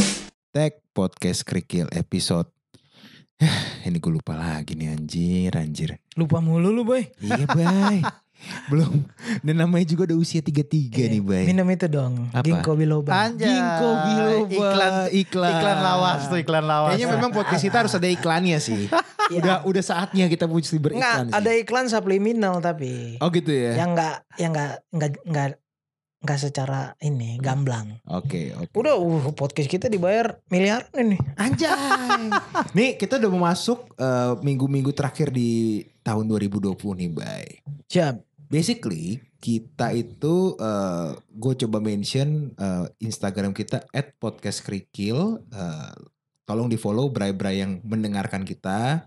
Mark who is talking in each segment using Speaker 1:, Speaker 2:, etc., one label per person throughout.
Speaker 1: Hashtag podcast kerikil episode. Ini gue lupa lagi nih anjir, anjir.
Speaker 2: Lupa mulu lu boy.
Speaker 1: Iya bay. Belum. Dan namanya juga udah usia 33
Speaker 3: Iya.
Speaker 1: nih bay.
Speaker 2: Minum itu dong.
Speaker 1: Iya. Apa?
Speaker 2: Ginkgo biloba.
Speaker 3: Anjay.
Speaker 1: Ginkgo biloba.
Speaker 3: Iklan,
Speaker 1: iklan.
Speaker 3: iklan lawas tuh, iklan lawas.
Speaker 1: Kayaknya memang podcast kita harus ada iklannya sih. udah udah saatnya kita mesti
Speaker 2: Enggak,
Speaker 1: beriklan sih.
Speaker 2: Iya. ada iklan subliminal tapi
Speaker 1: Oh gitu ya.
Speaker 2: yang enggak yang enggak enggak enggak enggak secara ini gamblang.
Speaker 1: Oke, oke.
Speaker 2: Udah uh, podcast kita dibayar miliaran ini.
Speaker 1: Anjay. nih kita udah mau masuk eh, minggu-minggu terakhir di tahun 2020 nih bay.
Speaker 2: Siap.
Speaker 1: Basically kita itu gue coba mention eh, Instagram kita at podcast kerikil. Eh, tolong di follow bray-bray yang mendengarkan kita.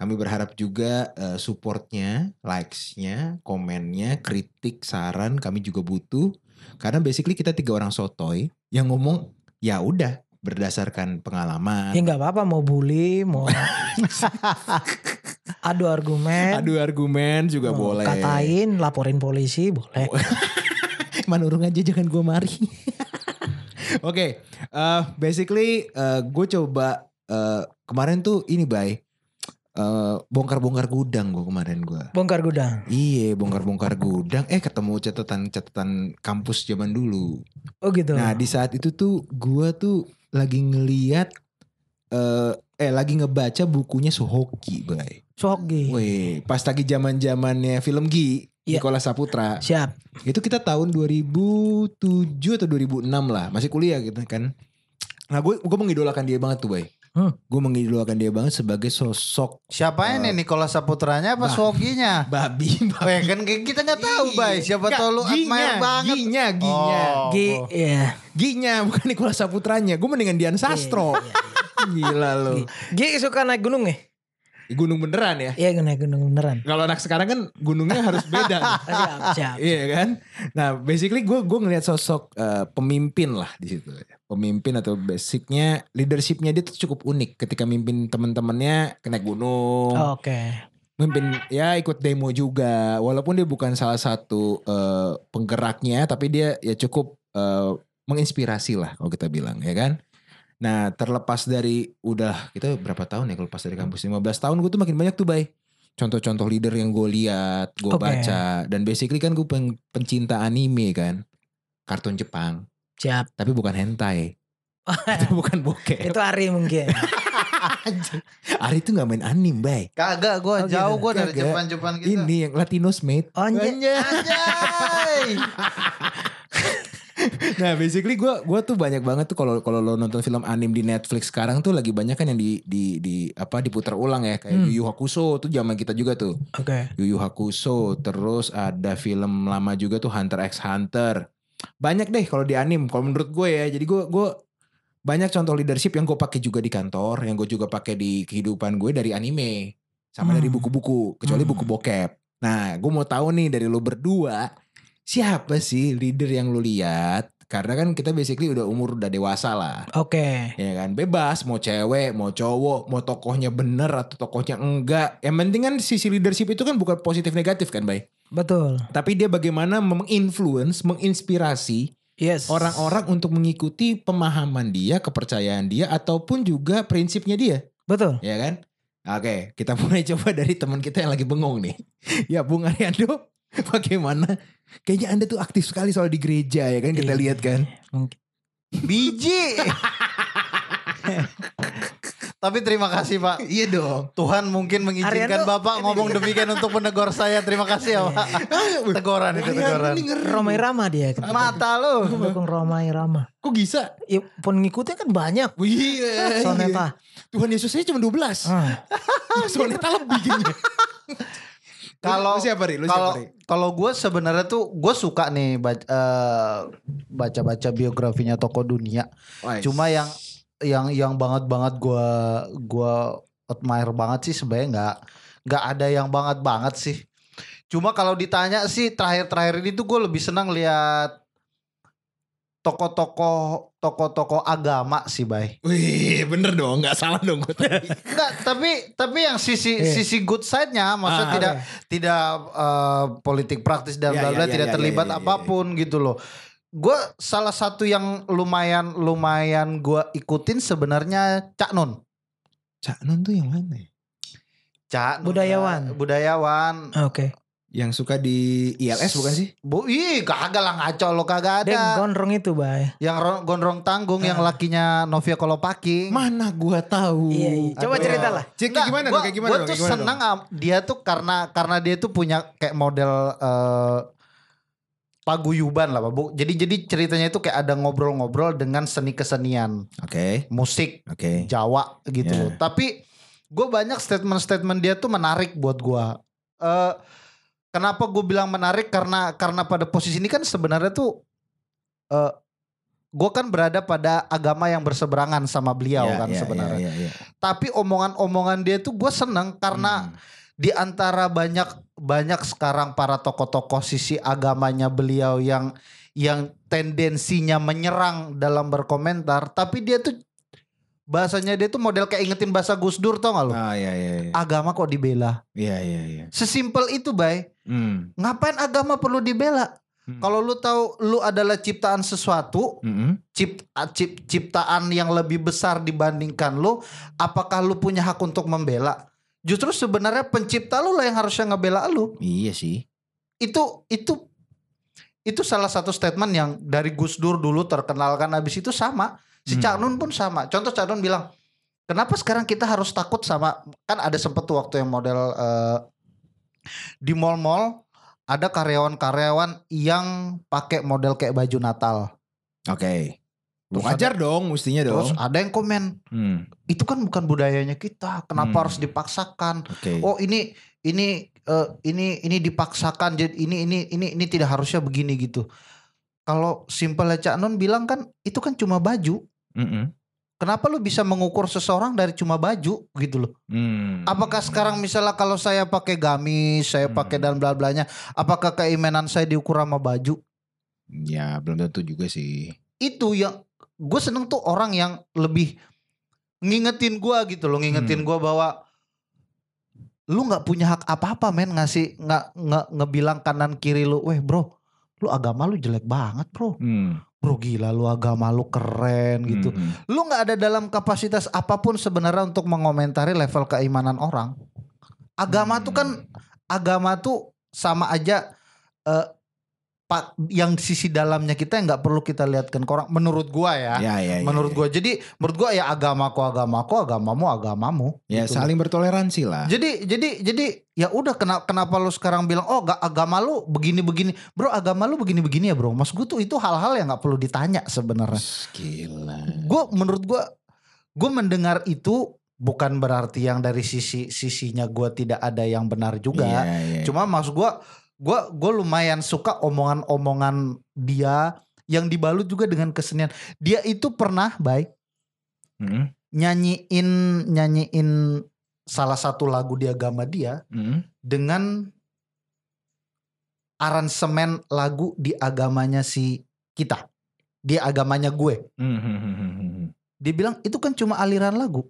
Speaker 1: Kami berharap juga eh, supportnya, likes-nya, komennya, kritik, saran kami juga butuh. Karena basically kita tiga orang sotoy yang ngomong ya udah berdasarkan
Speaker 2: Ya
Speaker 1: pengalaman.
Speaker 2: enggak apa-apa mau bully, mau adu argumen.
Speaker 1: Aduh argumen juga
Speaker 2: mau
Speaker 1: boleh.
Speaker 2: kan? Oh, Katain, laporin polisi boleh.
Speaker 1: Man urung aja jangan gue mari. Oke, eh, basically gue coba eh, kemarin tuh ini bay eh, bongkar-bongkar gudang gue kemarin gue.
Speaker 2: Bongkar gudang.
Speaker 1: Iya bongkar-bongkar gudang. Eh ketemu catatan-catatan kampus zaman dulu.
Speaker 2: Oh gitu.
Speaker 1: Nah di saat itu tuh gue tuh lagi ngeliat eh, eh lagi ngebaca bukunya Suhoki bay.
Speaker 2: Sogi.
Speaker 1: Weh pas lagi zaman zamannya film Gi.
Speaker 2: Iya.
Speaker 1: Nikola Saputra.
Speaker 2: Siap.
Speaker 1: Itu kita tahun 2007 atau 2006 lah, masih kuliah gitu kan. Nah gue gue mengidolakan dia banget tuh Bay.
Speaker 2: Hmm.
Speaker 1: Gue mengidolakan dia banget sebagai sosok
Speaker 3: Siapa
Speaker 1: Eh.
Speaker 3: ini Nikola Saputranya
Speaker 1: Bah.
Speaker 3: apa Swoginya?
Speaker 1: babi. babi.
Speaker 3: Weh kan kita nggak tahu, Bay.
Speaker 1: Iya.
Speaker 3: Siapa
Speaker 1: Nggak,
Speaker 3: tahu lu
Speaker 1: Ginya,
Speaker 3: admire banget.
Speaker 1: Ginya, Ginya.
Speaker 3: Oh.
Speaker 2: Gi, ya.
Speaker 1: Ginya bukan Nikola Saputranya. Gue mendingan
Speaker 3: Iya,
Speaker 1: Dian Sastro. Gila lu.
Speaker 2: Gi suka naik gunung ya?
Speaker 1: Gunung beneran ya.
Speaker 2: Iya naik gunung beneran.
Speaker 1: Kalau anak sekarang kan gunungnya harus beda. nih.
Speaker 2: Siap, siap.
Speaker 1: Iya kan? Nah, basically gue gue ngelihat sosok eh, pemimpin lah di situ. Pemimpin atau basicnya leadershipnya dia tuh cukup unik ketika mimpin teman-temannya ke naik gunung,
Speaker 2: Oke.
Speaker 1: mimpin ya ikut demo juga. Walaupun dia bukan salah satu eh, penggeraknya, tapi dia ya cukup eh, menginspirasi lah kalau kita bilang, ya kan? Nah, terlepas dari udah kita berapa tahun ya kalau lepas dari kampus 15 tahun gue tuh makin banyak tuh, Bay. Contoh-contoh leader yang gue lihat, gue
Speaker 2: Oke.
Speaker 1: baca dan basically kan gue peng- pencinta anime kan. Kartun Jepang,
Speaker 2: Siap.
Speaker 1: tapi bukan hentai. Itu bukan bokeh.
Speaker 2: Itu Ari mungkin.
Speaker 1: Ari tuh gak main anime, Bay.
Speaker 3: Kagak gue
Speaker 2: Oh, gitu.
Speaker 3: jauh gue dari
Speaker 1: Kagak.
Speaker 3: Jepang-Jepang gitu.
Speaker 1: Ini yang Latinos mate.
Speaker 2: Oh, anjay.
Speaker 3: Anjay.
Speaker 1: Nah, basically gue gua tuh banyak banget tuh kalau kalau lo nonton film anim di Netflix sekarang tuh lagi banyak kan yang di di di apa diputar ulang ya kayak
Speaker 2: Hmm.
Speaker 1: Yu Yu Hakusho tuh zaman kita juga tuh.
Speaker 2: Oke.
Speaker 1: Yu Yu Hakusho, terus ada film lama juga tuh Hunter x Hunter. Banyak deh kalau di anim kalau menurut gue ya. Jadi gue gue banyak contoh leadership yang gue pakai juga di kantor, yang gue juga pakai di kehidupan gue dari anime sama
Speaker 2: Hmm.
Speaker 1: dari buku-buku, kecuali
Speaker 2: Hmm.
Speaker 1: buku bokep. Nah, gue mau tahu nih dari lo berdua siapa sih leader yang lo lihat? Karena kan kita basically udah umur udah dewasa lah.
Speaker 2: Oke.
Speaker 1: Ya kan bebas mau cewek mau cowok mau tokohnya bener atau tokohnya enggak. Yang penting kan sisi leadership itu kan bukan positif negatif kan Bay.
Speaker 2: Betul.
Speaker 1: Tapi dia bagaimana menginfluence, menginspirasi
Speaker 2: Yes.
Speaker 1: orang-orang untuk mengikuti pemahaman dia, kepercayaan dia ataupun juga prinsipnya dia,
Speaker 2: Betul.
Speaker 1: ya kan? Oke, kita mulai coba dari teman kita yang lagi bengong nih. ya Bung Ariando, bagaimana? Kayaknya Anda tuh aktif sekali soal di gereja ya kan kita
Speaker 2: Iya.
Speaker 1: lihat kan.
Speaker 2: Mungkin.
Speaker 3: Biji. Tapi terima kasih Pak.
Speaker 1: Iya dong.
Speaker 3: Tuhan mungkin
Speaker 2: Ariando-
Speaker 3: mengizinkan Bapak ngomong demikian untuk menegur saya. Terima kasih ya Pak. Teguran itu
Speaker 1: Ariando
Speaker 3: teguran.
Speaker 1: ini ngeri.
Speaker 2: Romai Rama dia.
Speaker 3: Mata lu.
Speaker 2: Pendukung Romai Rama.
Speaker 1: Kok bisa?
Speaker 2: Ya, pengikutnya kan banyak.
Speaker 1: Wih, iya.
Speaker 2: Soneta.
Speaker 1: Tuhan Yesus aja cuma 12.
Speaker 2: Ah,
Speaker 1: Soneta lebih kayaknya.
Speaker 3: Kalau-
Speaker 1: Lu siapa Ri? Lu siapa
Speaker 3: kalau
Speaker 1: Ri?
Speaker 3: kalau gue sebenarnya tuh gue suka nih baca eh, baca-baca biografinya tokoh dunia.
Speaker 1: Wais.
Speaker 3: Cuma yang yang yang banget banget gue gua admire banget sih sebenarnya nggak nggak ada yang banget banget sih. Cuma kalau ditanya sih terakhir-terakhir ini tuh gue lebih senang lihat tokoh-tokoh tokoh-tokoh agama sih, Bay.
Speaker 1: Wih, bener dong, nggak salah dong gue tadi.
Speaker 3: Enggak, tapi tapi yang sisi
Speaker 2: Iya.
Speaker 3: sisi good side-nya maksudnya
Speaker 1: Ah,
Speaker 3: tidak tidak eh, politik praktis dan
Speaker 1: Iya,
Speaker 3: bla bla
Speaker 1: iya,
Speaker 3: tidak
Speaker 1: iya,
Speaker 3: terlibat
Speaker 1: iya, iya, iya.
Speaker 3: apapun gitu loh. gue salah satu yang lumayan lumayan gue ikutin sebenarnya Cak Nun.
Speaker 1: Cak Nun tuh yang mana? ya?
Speaker 3: Cak Nun,
Speaker 2: Budayawan.
Speaker 3: ya. Budayawan.
Speaker 2: Oke.
Speaker 1: Yang suka di ILS bukan sih?
Speaker 3: Bu, ih kagak lah ngaco lo kagak
Speaker 2: Dia
Speaker 3: ada.
Speaker 2: gondrong itu, Bay.
Speaker 3: yang ro- gondrong tanggung yang
Speaker 2: Ah.
Speaker 3: lakinya Novia Kolopaking.
Speaker 1: Mana gua tahu.
Speaker 2: Iya, iya. Coba
Speaker 3: Aduh.
Speaker 2: cerita lah.
Speaker 1: Cek
Speaker 3: Nggak,
Speaker 1: gimana
Speaker 3: gua,
Speaker 1: dong? Ya, Kayak gimana
Speaker 3: gua
Speaker 1: dong?
Speaker 3: tuh
Speaker 1: Kayak gimana
Speaker 3: seneng
Speaker 1: dong?
Speaker 3: am- dia tuh karena karena dia tuh punya kayak model eh, paguyuban lah Pak Bu. Jadi jadi ceritanya itu kayak ada ngobrol-ngobrol dengan seni kesenian,
Speaker 1: Oke,
Speaker 3: musik
Speaker 1: oke.
Speaker 3: Jawa gitu
Speaker 1: Yeah.
Speaker 3: loh. Tapi gue banyak statement-statement dia tuh menarik buat gue. Eh kenapa gue bilang menarik karena karena pada posisi ini kan sebenarnya tuh eh gue kan berada pada agama yang berseberangan sama beliau
Speaker 1: Ya,
Speaker 3: kan
Speaker 1: ya, ya,
Speaker 3: sebenarnya
Speaker 1: ya, ya.
Speaker 3: tapi omongan-omongan dia tuh gue seneng karena
Speaker 1: Hmm.
Speaker 3: di antara banyak banyak sekarang para tokoh-tokoh sisi agamanya beliau yang yang tendensinya menyerang dalam berkomentar tapi dia tuh bahasanya dia tuh model kayak ingetin bahasa Gus Dur tau gak lo
Speaker 1: Ah, ya, ya, ya.
Speaker 3: agama kok dibela
Speaker 1: Ya, ya, ya.
Speaker 3: sesimpel itu bay
Speaker 1: Hmm.
Speaker 3: ngapain agama perlu dibela
Speaker 1: Hmm.
Speaker 3: kalau lu tahu lu adalah ciptaan sesuatu
Speaker 1: Mm-mm.
Speaker 3: cipt- cip- ciptaan yang lebih besar dibandingkan lo, apakah lu punya hak untuk membela? Justru sebenarnya pencipta lu lah yang harusnya ngebela lu.
Speaker 1: Iya sih.
Speaker 3: Itu itu itu salah satu statement yang dari Gus Dur dulu terkenal kan habis itu sama. Si Cak
Speaker 1: Hmm.
Speaker 3: Nun pun sama. Contoh Cak Nun bilang, "Kenapa sekarang kita harus takut sama kan ada sempet tuh waktu yang model eh, di mall-mall ada karyawan-karyawan yang pakai model kayak baju Natal.
Speaker 1: Oke.
Speaker 3: Terus
Speaker 1: Wajar dong mestinya
Speaker 3: Terus
Speaker 1: dong.
Speaker 3: ada yang komen,
Speaker 1: Hmm.
Speaker 3: itu kan bukan budayanya kita.
Speaker 1: Hmm.
Speaker 3: Kenapa harus dipaksakan?
Speaker 1: Oke.
Speaker 3: Oh ini ini eh, ini ini dipaksakan. Jadi ini ini ini ini tidak harusnya begini gitu. Kalau simpelnya Cak Nun bilang kan itu kan cuma baju.
Speaker 1: Mm-mm.
Speaker 3: Kenapa lu bisa mengukur seseorang dari cuma baju gitu loh?
Speaker 1: Hmm.
Speaker 3: Apakah sekarang misalnya kalau saya pakai gamis, saya
Speaker 1: Hmm.
Speaker 3: pakai dan bla blanya, apakah keimanan saya diukur sama baju?
Speaker 1: Ya belum tentu juga sih.
Speaker 3: Itu yang gue seneng tuh orang yang lebih ngingetin gua gitu loh, ngingetin
Speaker 1: Hmm.
Speaker 3: gua bahwa lu nggak punya hak apa-apa men ngasih nggak nggak ngebilang kanan kiri lu, weh bro, lu agama lu jelek banget bro,
Speaker 1: Hmm.
Speaker 3: bro gila lu agama lu keren gitu,
Speaker 1: Hmm.
Speaker 3: lu nggak ada dalam kapasitas apapun sebenarnya untuk mengomentari level keimanan orang, agama tuh kan agama tuh sama aja eh, pak yang sisi dalamnya kita yang nggak perlu kita lihatkan ke orang, menurut gua ya,
Speaker 1: Ya, ya, ya,
Speaker 3: menurut
Speaker 1: ya.
Speaker 3: gua jadi menurut gua ya agamaku agamaku agamamu agamamu
Speaker 1: Ya
Speaker 3: gitu.
Speaker 1: saling bertoleransi lah.
Speaker 3: Jadi jadi jadi ya udah kenapa kenapa lu sekarang bilang oh gak agama lu begini-begini. Bro, agama lu begini-begini ya, Bro. Mas gue tuh itu hal-hal yang nggak perlu ditanya sebenarnya.
Speaker 1: Gila.
Speaker 3: Gue menurut gua gue mendengar itu bukan berarti yang dari sisi sisinya gua tidak ada yang benar juga.
Speaker 1: Iya, iya.
Speaker 3: Cuma maksud gua gua gue lumayan suka omongan-omongan dia yang dibalut juga dengan kesenian. Dia itu pernah baik
Speaker 1: Mm-mm.
Speaker 3: nyanyiin nyanyiin salah satu lagu di agama dia
Speaker 1: Mm-mm.
Speaker 3: dengan aransemen lagu di agamanya si kita di agamanya gue
Speaker 1: Mm-hmm.
Speaker 3: dia bilang itu kan cuma aliran lagu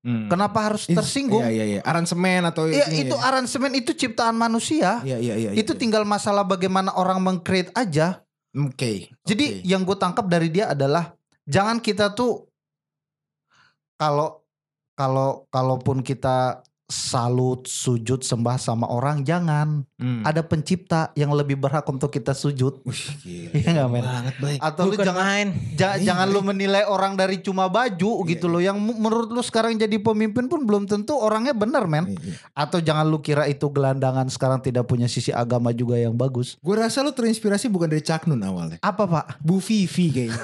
Speaker 1: Mm.
Speaker 3: kenapa harus
Speaker 1: Hmm. Is-
Speaker 3: tersinggung
Speaker 1: Iya iya iya. Aransemen atau
Speaker 3: ya
Speaker 1: ini
Speaker 3: itu
Speaker 1: ya.
Speaker 3: aransemen itu ciptaan manusia
Speaker 1: Iya iya iya. iya.
Speaker 3: itu tinggal masalah bagaimana orang mengcreate aja
Speaker 1: Hmm, Oke.
Speaker 3: jadi ya,
Speaker 1: oke.
Speaker 3: yang gue tangkap dari dia adalah jangan kita tuh kalau kalau kalaupun kita salut sujud sembah sama orang jangan
Speaker 1: Hmm.
Speaker 3: ada pencipta yang lebih berhak untuk kita sujud
Speaker 1: Wih, eh, gila.
Speaker 3: Iya nggak, men?
Speaker 1: Banget baik.
Speaker 3: atau lu
Speaker 2: Bukan
Speaker 3: jangan
Speaker 2: main.
Speaker 3: ja-
Speaker 1: Iya,
Speaker 3: jangan lu
Speaker 1: iya.
Speaker 3: menilai orang dari cuma baju gitu
Speaker 1: Iya,
Speaker 3: loh yang mu- menurut lu sekarang jadi pemimpin pun belum tentu orangnya bener men
Speaker 1: Iya.
Speaker 3: atau jangan lu kira itu gelandangan sekarang tidak punya sisi agama juga yang bagus
Speaker 1: Gue rasa lu terinspirasi bukan dari Cak Nun awalnya.
Speaker 3: apa pak
Speaker 1: Bu Vivi kayaknya.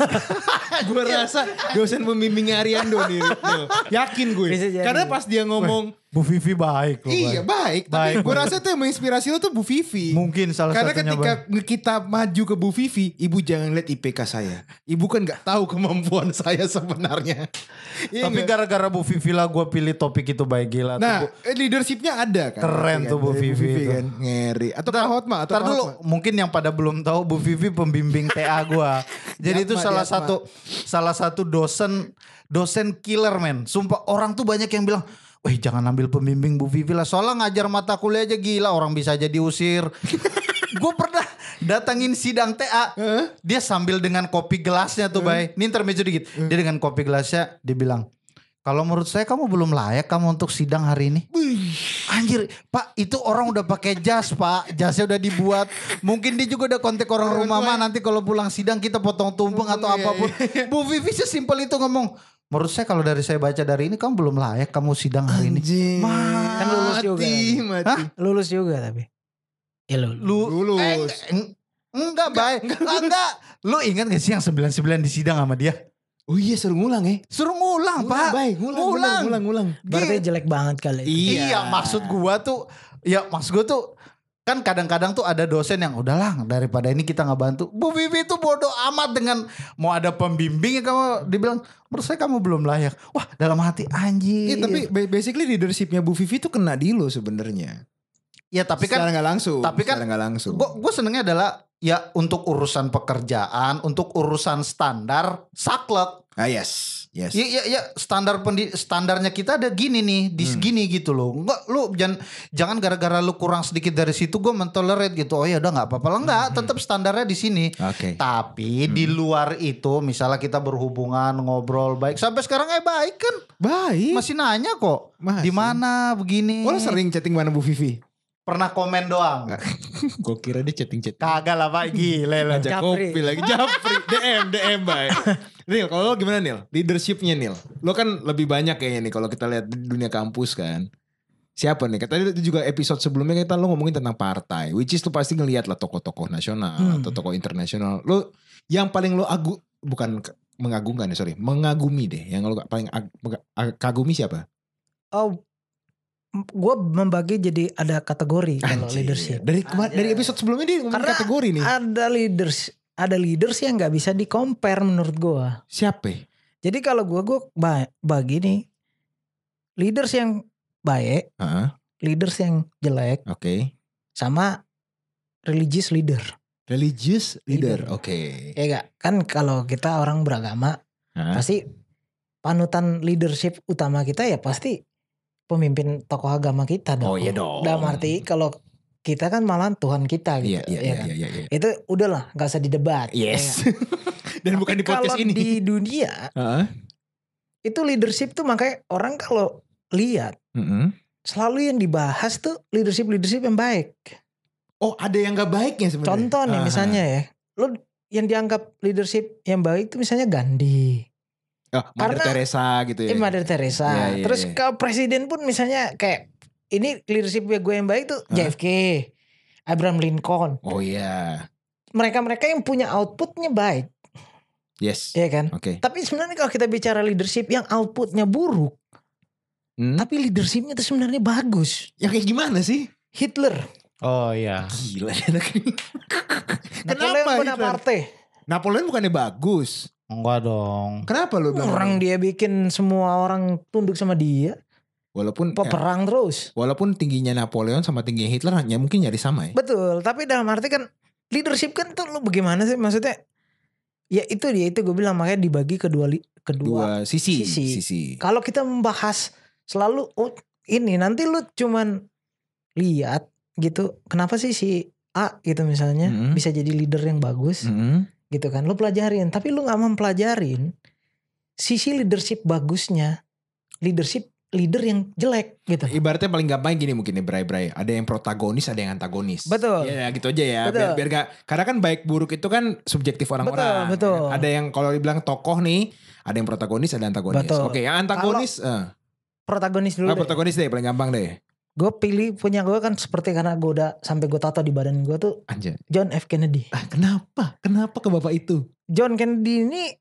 Speaker 1: gue rasa dosen pembimbingnya Ariando nih. Nil. Yakin gue.
Speaker 2: Bisa jadi.
Speaker 1: Karena pas dia ngomong,
Speaker 3: Bu Vivi baik loh
Speaker 1: iya
Speaker 3: Bay.
Speaker 1: baik.
Speaker 3: Baik,
Speaker 1: Tapi gue
Speaker 3: baik.
Speaker 1: rasa tuh yang menginspirasi lu tuh Bu Vivi.
Speaker 3: mungkin salah
Speaker 1: Karena
Speaker 3: satunya
Speaker 1: ketika
Speaker 3: Bay.
Speaker 1: kita maju ke Bu Vivi, ibu jangan lihat IPK saya. Ibu kan nggak tahu kemampuan saya sebenarnya. Iya nggak?
Speaker 3: tapi gara-gara Bu Vivi lah gue pilih topik itu baik gila
Speaker 1: nah
Speaker 3: tuh, Bu.
Speaker 1: eh, leadershipnya ada kan.
Speaker 3: Keren
Speaker 1: Iya
Speaker 3: tuh Bu
Speaker 1: dari
Speaker 3: Vivi itu.
Speaker 1: kan ngeri. Atau Kak Hotma atau
Speaker 3: Ntar
Speaker 1: Kak
Speaker 3: dulu,
Speaker 1: Hotma.
Speaker 3: mungkin yang pada belum tahu Bu Vivi pembimbing TA gua. Jadi itu
Speaker 1: Diatma,
Speaker 3: salah
Speaker 1: diatma.
Speaker 3: satu salah satu dosen dosen killer men. Sumpah orang tuh banyak yang bilang, "Weh, jangan ambil pembimbing Bu Vivi lah. Soalnya ngajar mata kuliah aja gila, orang bisa aja diusir." gue pernah datangin sidang TA dia sambil dengan kopi gelasnya tuh bay ini intermezzo dikit
Speaker 1: Eh.
Speaker 3: dia dengan kopi gelasnya dia bilang kalau menurut saya kamu belum layak kamu untuk sidang hari ini anjir pak itu orang udah pakai jas pak jasnya udah dibuat mungkin dia juga udah kontak orang
Speaker 1: Orang
Speaker 3: rumah
Speaker 1: tua. ya.
Speaker 3: mah nanti kalau pulang sidang kita potong tumpeng atau
Speaker 1: Iya,
Speaker 3: apapun Bu Vivi sesimpel itu ngomong menurut saya kalau dari saya baca dari ini kamu belum layak kamu sidang hari ini
Speaker 1: Anjing.
Speaker 3: Kan
Speaker 2: lulus juga.
Speaker 1: Mati, mati.
Speaker 3: Hah?
Speaker 2: Lulus juga tapi. Ya lulus.
Speaker 3: lu
Speaker 1: Lulus.
Speaker 3: Eh, eng- enggak baik enggak, enggak. lu ingat gak sih yang 99 di sidang sama dia
Speaker 1: Oh iya suruh ngulang ya.
Speaker 3: suruh ngulang
Speaker 1: Ngulang,
Speaker 3: pak
Speaker 1: Bay. Ngulang, Oh, ngulang,
Speaker 3: Ngulang.
Speaker 1: ngulang, ngulang.
Speaker 2: Berarti jelek banget kali
Speaker 1: Iya.
Speaker 2: itu.
Speaker 3: iya. maksud gua tuh ya maksud gua tuh kan kadang-kadang tuh ada dosen yang udahlah daripada ini kita nggak bantu Bu Vivi tuh bodoh amat dengan mau ada pembimbing yang kamu dibilang menurut saya kamu belum layak wah dalam hati anjir
Speaker 1: Iya, tapi ba- basically leadershipnya Bu Vivi tuh kena di lo sebenarnya.
Speaker 3: ya tapi kan
Speaker 1: secara nggak langsung.
Speaker 3: tapi kan-
Speaker 1: secara nggak langsung.
Speaker 3: Gue senengnya adalah ya untuk urusan pekerjaan, untuk urusan standar saklek.
Speaker 1: ah yes, yes.
Speaker 3: Ya ya ya standar pendi- standarnya kita ada gini nih, di
Speaker 1: Hmm.
Speaker 3: segini gitu loh. Enggak lu jangan jangan gara-gara lu kurang sedikit dari situ gue mentolerate gitu. Oh ya udah nggak apa-apa lah
Speaker 1: Hmm.
Speaker 3: enggak, tetap standarnya di sini.
Speaker 1: Oke. Hmm.
Speaker 3: Tapi di luar itu misalnya kita berhubungan, ngobrol baik sampai sekarang eh baik kan.
Speaker 1: Baik.
Speaker 3: Masih nanya kok.
Speaker 1: Iya. Masih.
Speaker 3: Di mana begini?
Speaker 1: Oh, lo sering chatting mana Bu Vivi?
Speaker 3: pernah komen doang.
Speaker 1: Gue kira dia chatting chatting.
Speaker 3: Kagak lah Pak gile lah.
Speaker 1: Ajak
Speaker 2: Japri.
Speaker 1: kopi lagi Japri DM DM baik. Nil, kalau lo gimana Nil? Leadershipnya Nil. Lo kan lebih banyak kayaknya nih kalau kita lihat di dunia kampus kan. Siapa nih? Tadi itu juga episode sebelumnya kita lo ngomongin tentang partai, which is tuh pasti ngelihat lah tokoh-tokoh nasional
Speaker 2: Hmm.
Speaker 1: atau tokoh internasional. Lo yang paling lo agu bukan ke- mengagungkan ya sorry, mengagumi deh. Yang lo paling ag- mega- ag- kagumi siapa?
Speaker 2: Oh, gue membagi jadi ada kategori kalau
Speaker 1: Anjir.
Speaker 2: leadership.
Speaker 1: Dari kema- dari
Speaker 2: Anjir.
Speaker 1: episode sebelumnya dia ngomongin
Speaker 2: Karena
Speaker 1: kategori nih.
Speaker 2: Ada leaders, ada leaders yang nggak bisa di compare menurut gue.
Speaker 1: Siapa? ya?
Speaker 2: Jadi kalau gue gue ba- bagi nih leaders yang baik,
Speaker 1: Heeh,
Speaker 2: leaders yang jelek,
Speaker 1: Oke.
Speaker 2: sama religious leader.
Speaker 1: Religious leader.
Speaker 2: Leader.
Speaker 1: Oke.
Speaker 2: Ya gak? Kan kalau kita orang beragama
Speaker 1: Hah?
Speaker 2: pasti panutan leadership utama kita ya pasti pemimpin tokoh agama kita dong.
Speaker 1: Oh, iya dong.
Speaker 2: Dalam arti kalau kita kan malah Tuhan kita gitu.
Speaker 1: Iya, iya,
Speaker 2: ya
Speaker 1: iya,
Speaker 2: kan?
Speaker 1: iya, iya, iya.
Speaker 2: Itu udahlah nggak usah didebat. ya
Speaker 1: Yes.
Speaker 2: nggak?
Speaker 1: Dan bukan di
Speaker 2: Tapi
Speaker 1: podcast
Speaker 2: kalau
Speaker 1: ini.
Speaker 2: Di dunia
Speaker 1: Heeh.
Speaker 2: itu leadership tuh makanya orang kalau lihat
Speaker 1: Mm-mm.
Speaker 2: selalu yang dibahas tuh leadership leadership yang baik.
Speaker 1: Oh, ada yang gak baiknya sebenarnya.
Speaker 2: Contoh nih
Speaker 1: Ah.
Speaker 2: misalnya ya, lo yang dianggap leadership yang baik tuh misalnya Gandhi,
Speaker 1: Oh, Mother
Speaker 2: Karena-
Speaker 1: Teresa gitu ya.
Speaker 2: eh, Mother Teresa.
Speaker 1: Iya, iya,
Speaker 2: Terus
Speaker 1: iya.
Speaker 2: kalau presiden pun misalnya kayak ini leadership gue yang baik tuh
Speaker 1: Hah?
Speaker 2: JFK, Abraham Lincoln.
Speaker 1: Oh iya.
Speaker 2: Mereka-mereka yang punya outputnya baik,
Speaker 1: Yes.
Speaker 2: ya kan?
Speaker 1: Oke.
Speaker 2: Tapi sebenarnya kalau kita bicara leadership yang outputnya buruk,
Speaker 1: Hmm.
Speaker 2: tapi leadershipnya tuh sebenarnya bagus.
Speaker 1: Ya kayak gimana sih?
Speaker 2: Hitler,
Speaker 3: Oh iya.
Speaker 1: Gila anak ini.
Speaker 2: Napoleon
Speaker 1: Kenapa Hitler?
Speaker 2: Bonaparte,
Speaker 1: Napoleon bukannya bagus.
Speaker 3: Enggak dong.
Speaker 1: Kenapa lu bilang?
Speaker 2: orang dia bikin semua orang tunduk sama dia,
Speaker 1: Walaupun ya,
Speaker 2: peperang terus.
Speaker 1: walaupun tingginya Napoleon sama tingginya Hitler hanya mungkin nyari sama ya.
Speaker 2: Betul, tapi dalam arti kan leadership kan tuh lu bagaimana sih maksudnya? Ya itu dia itu gue bilang makanya dibagi kedua li- kedua.
Speaker 1: Dua sisi,
Speaker 2: Sisi.
Speaker 1: sisi.
Speaker 2: Kalau kita membahas selalu oh, ini nanti lu cuman lihat gitu, kenapa sih si A gitu misalnya
Speaker 1: Mm-mm.
Speaker 2: bisa jadi leader yang bagus
Speaker 1: Mm-mm.
Speaker 2: gitu kan? Lu pelajarin, tapi lu nggak mempelajarin sisi leadership bagusnya, leadership leader yang jelek gitu.
Speaker 1: Ibaratnya paling gampang gini mungkin nih Bray-Bray. Ada yang protagonis, ada yang antagonis.
Speaker 2: Betul.
Speaker 1: Ya gitu aja ya.
Speaker 2: Betul.
Speaker 1: Biar, biar gak, karena kan baik buruk itu kan subjektif orang-orang. kan?
Speaker 2: Betul, betul.
Speaker 1: Ada yang kalau dibilang tokoh nih, ada yang protagonis, ada antagonis.
Speaker 2: Betul.
Speaker 1: Oke, yang antagonis, eh,
Speaker 2: Protagonis dulu.
Speaker 1: ah,
Speaker 2: deh.
Speaker 1: protagonis deh paling gampang deh.
Speaker 2: gue pilih punya gue kan seperti karena gue udah sampai gue tato di badan gue tuh
Speaker 1: Anjay.
Speaker 2: John F Kennedy.
Speaker 1: Ah, kenapa? Kenapa ke bapak itu?
Speaker 2: John Kennedy ini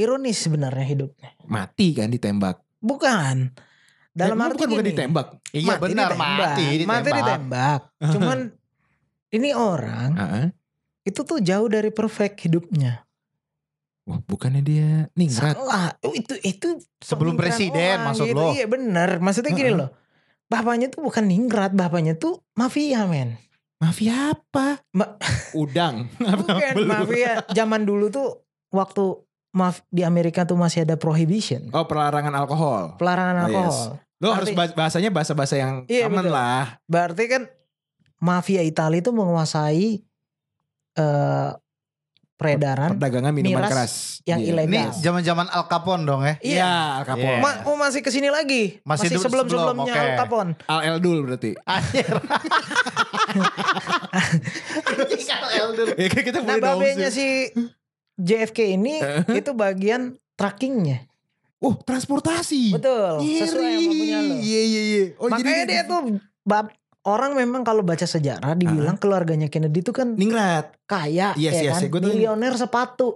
Speaker 2: ironis sebenarnya hidupnya.
Speaker 1: Mati kan ditembak.
Speaker 2: Bukan dalam
Speaker 1: Eh,
Speaker 2: arti
Speaker 1: bukan, bukan
Speaker 2: gini,
Speaker 1: ditembak.
Speaker 3: Iya
Speaker 2: mati
Speaker 3: benar
Speaker 2: ditembak,
Speaker 3: mati
Speaker 2: mati
Speaker 3: ditembak.
Speaker 2: ditembak. Cuman ini orang
Speaker 1: Heeh.
Speaker 2: itu tuh jauh dari perfect hidupnya.
Speaker 1: Wah, bukannya dia ningrat.
Speaker 2: Salah. Oh, itu itu
Speaker 3: Sebelum
Speaker 2: pemikiran
Speaker 3: presiden,
Speaker 2: orang
Speaker 3: maksud
Speaker 2: gitu.
Speaker 3: lo?
Speaker 2: Iya benar. Maksudnya gini
Speaker 1: Heeh.
Speaker 2: loh. Bapaknya tuh bukan ningrat, bapaknya tuh mafia men.
Speaker 1: Mafia apa?
Speaker 2: Ma-
Speaker 1: Udang.
Speaker 2: Bukan
Speaker 1: Belum.
Speaker 2: mafia. iya. Zaman dulu tuh waktu maaf di Amerika tuh masih ada prohibition,
Speaker 1: Oh, pelarangan alkohol.
Speaker 2: pelarangan
Speaker 1: Oh, yes.
Speaker 2: alkohol.
Speaker 1: Lo harus
Speaker 2: Arti-
Speaker 1: bahas- bahasanya bahasa-bahasa yang
Speaker 2: Iya,
Speaker 1: aman
Speaker 2: betul.
Speaker 1: lah.
Speaker 2: Berarti kan mafia Italia itu menguasai eh, peredaran
Speaker 1: Perdagangan minuman
Speaker 2: Kan? Miras
Speaker 1: keras.
Speaker 2: yang
Speaker 1: Iya.
Speaker 2: ilegal.
Speaker 3: Ini zaman-zaman Al Capone dong ya.
Speaker 1: Iya,
Speaker 2: iya
Speaker 1: Al Capone.
Speaker 3: Iya.
Speaker 2: Ma- oh, masih kesini lagi
Speaker 3: Masih
Speaker 2: masih,
Speaker 3: dulu
Speaker 2: sebelum sebelumnya
Speaker 3: sebelum,
Speaker 2: Al
Speaker 3: oke.
Speaker 2: Capone
Speaker 1: Al Eldul berarti.
Speaker 3: Anjir. Anjing, Al Eldul.
Speaker 1: Ya kan kita
Speaker 2: nah
Speaker 1: boleh dong. Eh?
Speaker 2: babenya si JFK ini itu bagian trackingnya
Speaker 1: Oh, transportasi.
Speaker 2: betul sesuai yang punya lo
Speaker 1: Iya, iya, iya. Oh,
Speaker 2: makanya dia tuh bab orang memang kalau baca sejarah dibilang keluarganya Kennedy itu kan
Speaker 1: ningrat.
Speaker 2: kaya
Speaker 1: Yes, yes,
Speaker 2: ya kan
Speaker 1: ya, gua tahu.
Speaker 2: milioner sepatu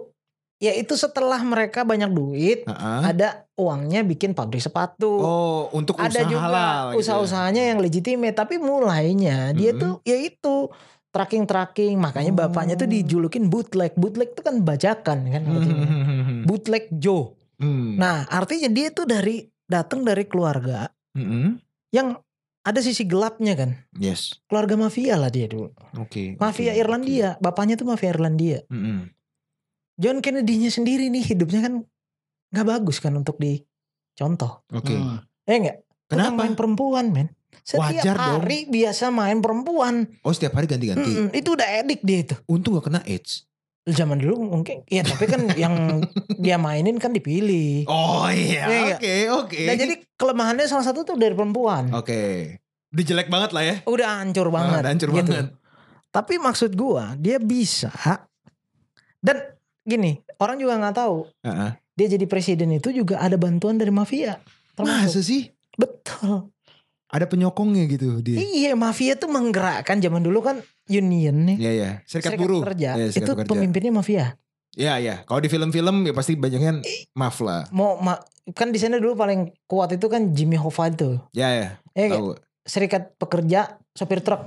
Speaker 2: ya itu setelah mereka banyak duit
Speaker 1: Heeh.
Speaker 2: ada uangnya bikin pabrik sepatu
Speaker 1: Oh, untuk
Speaker 2: ada
Speaker 1: usaha
Speaker 2: juga
Speaker 1: halal. gitu.
Speaker 2: usaha-usahanya yang legitimate tapi mulainya dia
Speaker 1: Mhm.
Speaker 2: tuh ya itu tracking tracking makanya
Speaker 1: Oh.
Speaker 2: bapaknya tuh dijulukin bootleg bootleg itu kan bajakan kan artinya.
Speaker 1: Hmm.
Speaker 2: bootleg Joe
Speaker 1: Hmm.
Speaker 2: nah artinya dia tuh dari datang dari keluarga
Speaker 1: Mm-mm.
Speaker 2: yang ada sisi gelapnya kan
Speaker 1: Hmm. Yes.
Speaker 2: keluarga mafia lah dia dulu
Speaker 1: Oke. Hmm,
Speaker 2: mafia
Speaker 1: oke,
Speaker 2: Irlandia bapaknya tuh mafia Irlandia
Speaker 1: oke. Mm-mm.
Speaker 2: John Kennedy-nya sendiri nih hidupnya kan nggak bagus kan untuk dicontoh.
Speaker 1: Oke.
Speaker 3: Hmm.
Speaker 2: Eh enggak?
Speaker 1: Kenapa?
Speaker 2: main perempuan, men? Setiap
Speaker 1: Wajar dong.
Speaker 2: hari biasa main perempuan.
Speaker 1: Oh, setiap hari ganti-ganti.
Speaker 2: Mm-mm, itu udah edik dia itu.
Speaker 1: Untung gak kena AIDS.
Speaker 2: Zaman dulu mungkin ya tapi kan yang dia mainin kan dipilih.
Speaker 1: Oh
Speaker 2: Iya,
Speaker 1: iya.
Speaker 2: iya.
Speaker 1: Oke, oke.
Speaker 2: Nah, jadi kelemahannya salah satu tuh dari perempuan.
Speaker 1: Oke. Udah jelek banget lah ya.
Speaker 2: Udah hancur banget.
Speaker 1: udah hancur
Speaker 2: gitu.
Speaker 1: banget.
Speaker 2: Tapi maksud gua dia bisa dan gini, orang juga nggak tahu
Speaker 1: Heeh.
Speaker 2: dia jadi presiden itu juga ada bantuan dari mafia.
Speaker 1: Masa
Speaker 2: Termasuk.
Speaker 1: sih?
Speaker 2: Betul.
Speaker 1: Ada penyokongnya gitu dia.
Speaker 2: Iya mafia tuh menggerakkan zaman dulu kan union nih.
Speaker 1: Iya, iya. Serikat buruh.
Speaker 2: kerja.
Speaker 1: Iya, serikat
Speaker 2: itu
Speaker 1: pekerja.
Speaker 2: pemimpinnya mafia.
Speaker 1: Iya, iya. Kalau di film-film ya pasti banyaknya maaf lah.
Speaker 2: Mau ma- kan di sana dulu paling kuat itu kan Jimmy Hoffa itu.
Speaker 1: Ya, ya.
Speaker 2: Eh,
Speaker 1: Tahu.
Speaker 2: serikat pekerja sopir truk.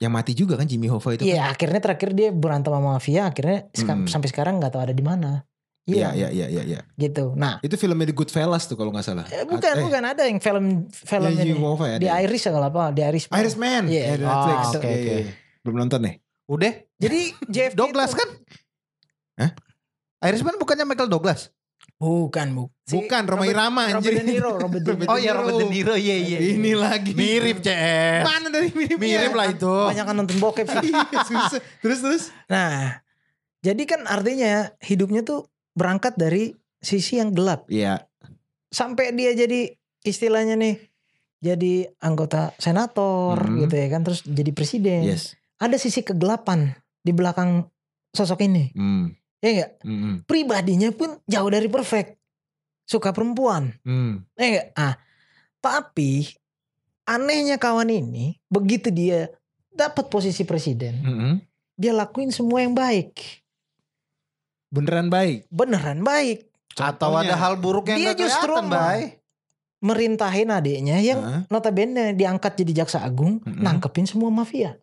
Speaker 1: Yang mati juga kan Jimmy Hoffa itu.
Speaker 2: Iya, akhirnya terakhir dia berantem sama mafia, akhirnya
Speaker 1: Mm.
Speaker 2: seka- sampai sekarang nggak tahu ada di mana.
Speaker 1: Iya, iya,
Speaker 2: Iya,
Speaker 1: iya, iya, iya.
Speaker 2: gitu. Nah,
Speaker 1: Itu filmnya The Goodfellas tuh kalau nggak salah.
Speaker 2: eh, bukan
Speaker 1: Eh,
Speaker 2: bukan ada yang film film
Speaker 1: yang
Speaker 2: ini.
Speaker 1: Jimmy Hoffa ya.
Speaker 2: Di
Speaker 1: dia.
Speaker 2: Irish kalau apa? Di Irish.
Speaker 1: Irishman.
Speaker 2: Iya.
Speaker 1: Ya, di Netflix.
Speaker 3: Ah,
Speaker 1: Iya,
Speaker 3: oke,
Speaker 1: iya,
Speaker 3: oke.
Speaker 1: iya. Belum nonton nih.
Speaker 3: Udah.
Speaker 2: Jadi JFK
Speaker 3: Douglas
Speaker 2: itu-
Speaker 3: kan?
Speaker 1: Hah?
Speaker 3: Irishman bukannya Michael Douglas?
Speaker 2: Bukan, bu. Si
Speaker 1: Bukan Roma
Speaker 2: Robert-
Speaker 1: Irama anjir.
Speaker 2: Robert De Niro, Robert De Niro.
Speaker 1: Oh, iya, Robert De
Speaker 3: Niro. Iya iya.
Speaker 1: Ini lagi.
Speaker 3: Mirip CS.
Speaker 1: Mana dari mirip?
Speaker 3: Mirip lah itu.
Speaker 1: Oh.
Speaker 2: Banyak kan nonton bokep sih.
Speaker 1: Iya, Susah. Terus terus.
Speaker 2: Nah, jadi kan artinya hidupnya tuh berangkat dari sisi yang gelap
Speaker 1: Iya.
Speaker 2: sampai dia jadi istilahnya nih jadi anggota senator
Speaker 1: Hmm.
Speaker 2: gitu ya kan terus jadi presiden.
Speaker 1: Iya, Yes.
Speaker 2: Ada sisi kegelapan di belakang sosok ini.
Speaker 1: Hmm.
Speaker 2: Ya enggak?
Speaker 1: Hmm.
Speaker 2: Pribadinya pun jauh dari perfect. Suka perempuan.
Speaker 1: Hmm.
Speaker 2: Ya enggak? Ah, tapi anehnya kawan ini begitu dia dapat posisi presiden,
Speaker 1: Hmm.
Speaker 2: dia lakuin semua yang baik.
Speaker 1: Beneran baik.
Speaker 2: Beneran baik.
Speaker 3: Atau
Speaker 1: Contohnya.
Speaker 3: ada hal buruk yang
Speaker 2: Dia
Speaker 3: nggak
Speaker 2: justru
Speaker 3: kelihatan, Bay?
Speaker 2: merintahin adiknya yang
Speaker 1: Heeh.
Speaker 2: notabene diangkat jadi jaksa agung
Speaker 1: Mm-mm.
Speaker 2: nangkepin semua mafia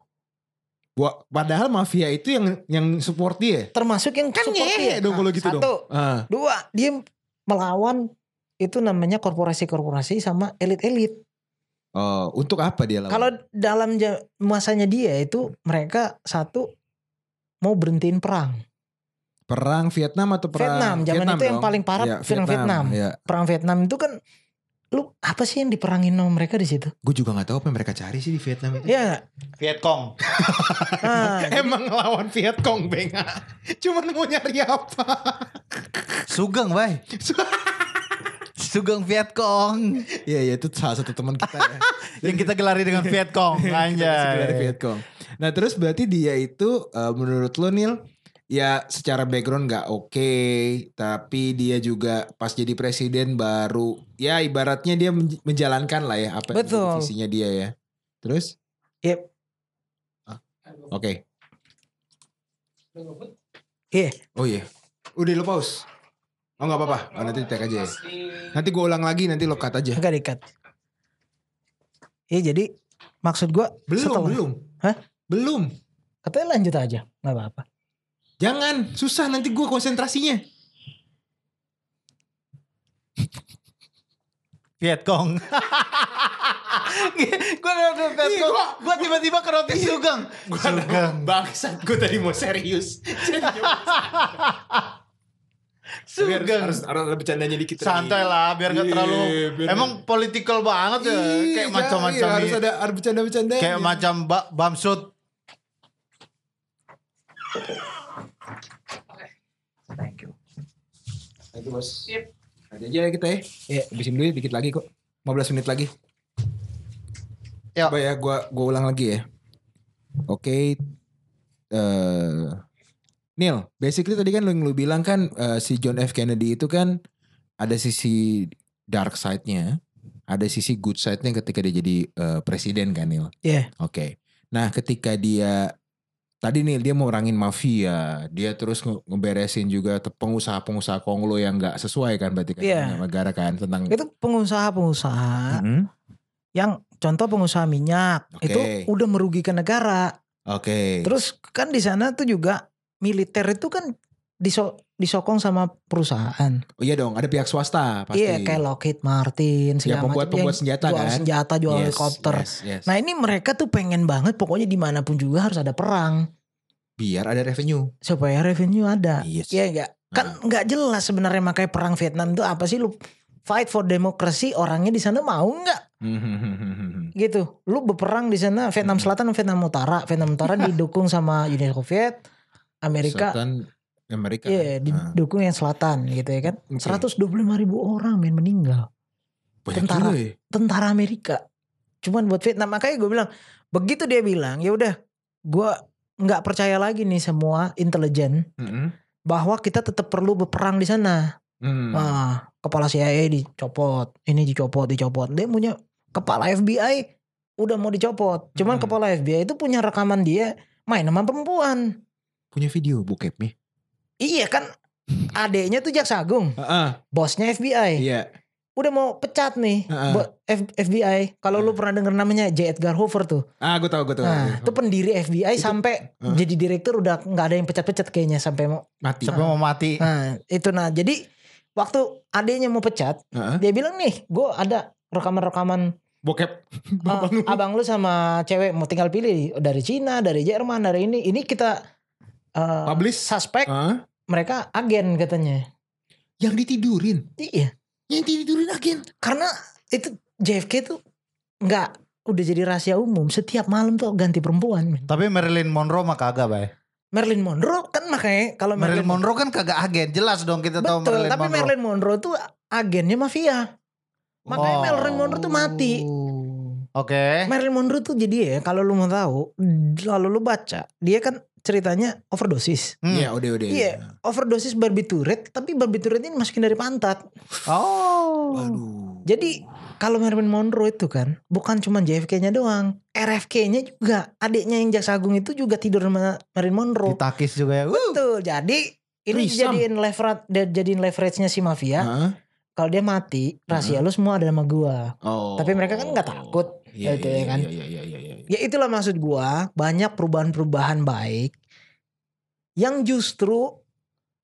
Speaker 1: Wah, padahal mafia itu yang yang support dia.
Speaker 2: termasuk yang
Speaker 1: Kan
Speaker 2: support
Speaker 1: ngehe
Speaker 2: dia.
Speaker 1: dong
Speaker 2: Nah,
Speaker 1: kalau gitu
Speaker 2: satu,
Speaker 1: dong. Ah.
Speaker 2: dua dia melawan itu namanya korporasi-korporasi sama elit-elit
Speaker 1: Oh, untuk apa dia lawan?
Speaker 2: kalau dalam ja- masanya dia itu mereka satu mau berhentiin perang
Speaker 1: perang Vietnam atau perang
Speaker 2: Vietnam, zaman itu yang paling parah perang Vietnam.
Speaker 1: Ya,
Speaker 2: perang Vietnam itu kan lu apa sih yang diperangin sama mereka di situ
Speaker 1: gue juga nggak tahu apa yang mereka cari sih di Vietnam itu.
Speaker 2: ya
Speaker 3: Vietcong.
Speaker 2: nah,
Speaker 1: Emang ngelawan Vietcong benga. Cuman mau nyari apa?
Speaker 3: Sugeng, Bay. Sugeng Vietcong
Speaker 1: Iya iya itu salah satu teman kita ya.
Speaker 3: yang kita gelari dengan Vietcong
Speaker 2: Iya,
Speaker 1: Dari
Speaker 3: anjay.
Speaker 1: Vietcong. Nah terus berarti dia itu eh, menurut lo Nil ya secara background nggak oke, tapi dia juga pas jadi presiden baru ya ibaratnya dia menj- menjalankan lah ya apa yang
Speaker 2: Betul.
Speaker 1: jadi visinya dia ya. Terus?
Speaker 2: Yep.
Speaker 1: Ah, Oke.
Speaker 2: iya
Speaker 1: Oh iya. Udah lo pause. Oh nggak apa-apa. Oh, nanti di tag aja ya. Nanti gue ulang lagi nanti lo cut aja.
Speaker 2: Enggak dikat. Iya jadi maksud gua
Speaker 1: Belum
Speaker 2: setelah-
Speaker 1: belum.
Speaker 2: Hah?
Speaker 1: Belum.
Speaker 2: Katanya lanjut aja, nggak apa-apa.
Speaker 1: Jangan, susah nanti gue konsentrasinya.
Speaker 3: Vietcong. gue udah
Speaker 1: Iya,
Speaker 3: Vietcong. Gue tiba-tiba ke roti Sugeng. Iya. Sugeng.
Speaker 1: Bangsat, gue tadi mau serius. Biar
Speaker 3: Sugeng.
Speaker 1: harus, harus, harus ada bercandanya dikit. lagi.
Speaker 3: Santai lah biar nggak
Speaker 1: Iya,
Speaker 3: terlalu.
Speaker 1: biar- Iya,
Speaker 3: Emang political banget ya.
Speaker 1: Ih,
Speaker 3: Kayak
Speaker 1: jangan,
Speaker 3: macam-macam. ya.
Speaker 1: iya, Harus ada harus bercanda-bercanda.
Speaker 3: Kayak macam ba- Bamsud.
Speaker 2: Thank you.
Speaker 1: Thank you, Bos. Nanti aja ya kita ya.
Speaker 2: Iya.
Speaker 1: Habisin dulu ya, dikit lagi kok. 15 menit lagi.
Speaker 3: Ya.
Speaker 1: Coba ya gua gua ulang lagi ya. Oke. eh Neil, basically tadi kan lu, lu bilang kan eh, si John F Kennedy itu kan ada sisi dark side-nya, ada sisi good side-nya ketika dia jadi eh, presiden kan Neil.
Speaker 2: Iya.
Speaker 1: Oke. Nah, ketika dia tadi nih dia mau orangin mafia, dia terus nge- ngeberesin juga te- pengusaha-pengusaha konglo yang nggak sesuai kan berarti kan
Speaker 2: Iya.
Speaker 1: sama negara kan tentang Ah,
Speaker 2: Itu pengusaha-pengusaha
Speaker 1: Mm-mm.
Speaker 2: yang contoh pengusaha minyak
Speaker 1: Oke.
Speaker 2: itu udah merugikan negara.
Speaker 1: Oke.
Speaker 2: Terus kan di sana tuh juga militer itu kan diso- disokong sama perusahaan.
Speaker 1: Oh iya dong, ada pihak swasta pasti.
Speaker 2: Iya kayak Lockheed Martin
Speaker 1: yang
Speaker 2: segala
Speaker 1: pembuat
Speaker 2: macam yang
Speaker 1: pembuat senjata
Speaker 2: jual
Speaker 1: kan.
Speaker 2: senjata, jual
Speaker 1: Yes,
Speaker 2: helikopter.
Speaker 1: yes, yes.
Speaker 2: Nah ini mereka tuh pengen banget pokoknya dimanapun juga harus ada perang
Speaker 1: biar ada revenue.
Speaker 2: supaya revenue ada.
Speaker 1: Yes. Nah.
Speaker 2: Iya enggak? Kan nggak jelas sebenarnya makanya perang Vietnam itu apa sih lu fight for demokrasi orangnya di sana mau nggak gitu. Lu berperang di sana Vietnam
Speaker 1: Mm.
Speaker 2: Selatan dan Vietnam Utara. Vietnam Utara didukung sama Uni Soviet, Amerika.
Speaker 1: Selatan Amerika.
Speaker 2: Iya,
Speaker 1: Ah,
Speaker 2: didukung yang selatan gitu ya kan.
Speaker 1: Oke.
Speaker 2: 125 ribu orang men meninggal.
Speaker 1: banyak
Speaker 2: tentara.
Speaker 1: juga ya.
Speaker 2: Tentara Amerika. Cuman buat Vietnam makanya gue bilang begitu dia bilang ya udah gue nggak percaya lagi nih semua intelijen
Speaker 1: Mm-mm.
Speaker 2: bahwa kita tetap perlu berperang di sana.
Speaker 1: Hmm.
Speaker 2: Wah, kepala CIA dicopot, ini dicopot, dicopot. Dia punya kepala FBI udah mau dicopot. Cuman
Speaker 1: Hmm.
Speaker 2: kepala FBI itu punya rekaman dia main sama perempuan.
Speaker 1: Punya video bokepnya.
Speaker 2: Iya kan adeknya tuh jaksa agung,
Speaker 1: Ah, ah,
Speaker 2: bosnya FBI.
Speaker 1: Iya.
Speaker 2: Udah mau pecat nih
Speaker 1: Heeh.
Speaker 2: buat F- FBI. Kalau lu pernah denger namanya J. Edgar Hoover tuh.
Speaker 1: Ah, gue tau, gue tau.
Speaker 2: Nah, itu pendiri FBI sampai
Speaker 1: Heeh.
Speaker 2: jadi direktur udah nggak ada yang pecat-pecat kayaknya sampai mau.
Speaker 1: Mati.
Speaker 3: Sampai mau mati.
Speaker 2: Nah, itu nah. Jadi waktu adeknya mau pecat,
Speaker 1: Ah, ah.
Speaker 2: dia bilang nih, gue ada rekaman-rekaman
Speaker 1: Bokep.
Speaker 2: ah,
Speaker 1: Bapak lu.
Speaker 2: abang lu sama cewek mau tinggal pilih dari Cina, dari Jerman, dari ini. Ini kita eh,
Speaker 1: Publish.
Speaker 2: suspek
Speaker 1: Ah,
Speaker 2: mereka agen katanya.
Speaker 1: yang ditidurin.
Speaker 2: Iya.
Speaker 1: Yang ditidurin agen.
Speaker 2: karena itu JFK tuh nggak udah jadi rahasia umum setiap malam tuh ganti perempuan men.
Speaker 3: Tapi Marilyn Monroe mah kagak, Bay.
Speaker 2: Marilyn Monroe kan makanya kalau
Speaker 3: Marilyn Monroe kan kagak agen, jelas dong kita tahu
Speaker 2: betul
Speaker 3: Marilyn
Speaker 2: tapi
Speaker 3: Monroe.
Speaker 2: Marilyn Monroe tuh agennya mafia makanya
Speaker 3: Oh.
Speaker 2: Marilyn Monroe tuh mati
Speaker 3: Oke.
Speaker 2: Marilyn Monroe tuh jadi ya kalau lu mau tahu kalau lu baca dia kan ceritanya overdosis
Speaker 3: Hmm.
Speaker 1: Iya, udah, udah.
Speaker 2: Iya, overdosis barbiturat, tapi barbiturat ini masukin dari pantat.
Speaker 3: Oh.
Speaker 1: Waduh.
Speaker 2: Jadi kalau Marilyn Monroe itu kan bukan cuma JFK-nya doang, RFK-nya juga. Adiknya yang jaksa agung itu juga tidur sama Marilyn Monroe.
Speaker 3: Ditakis juga ya. Wuh.
Speaker 2: Betul. Jadi ini
Speaker 1: Threesome.
Speaker 2: dijadiin leverage jadiin leverage-nya si mafia.
Speaker 1: Hah?
Speaker 2: Kalau dia mati, rahasia lu semua ada sama gua.
Speaker 1: Oh.
Speaker 2: Tapi mereka kan nggak takut,
Speaker 1: Iya,
Speaker 2: gitu
Speaker 1: iya,
Speaker 2: ya kan.
Speaker 1: Iya, iya, iya, iya. iya.
Speaker 2: Ya itulah maksud gua, banyak perubahan-perubahan baik yang justru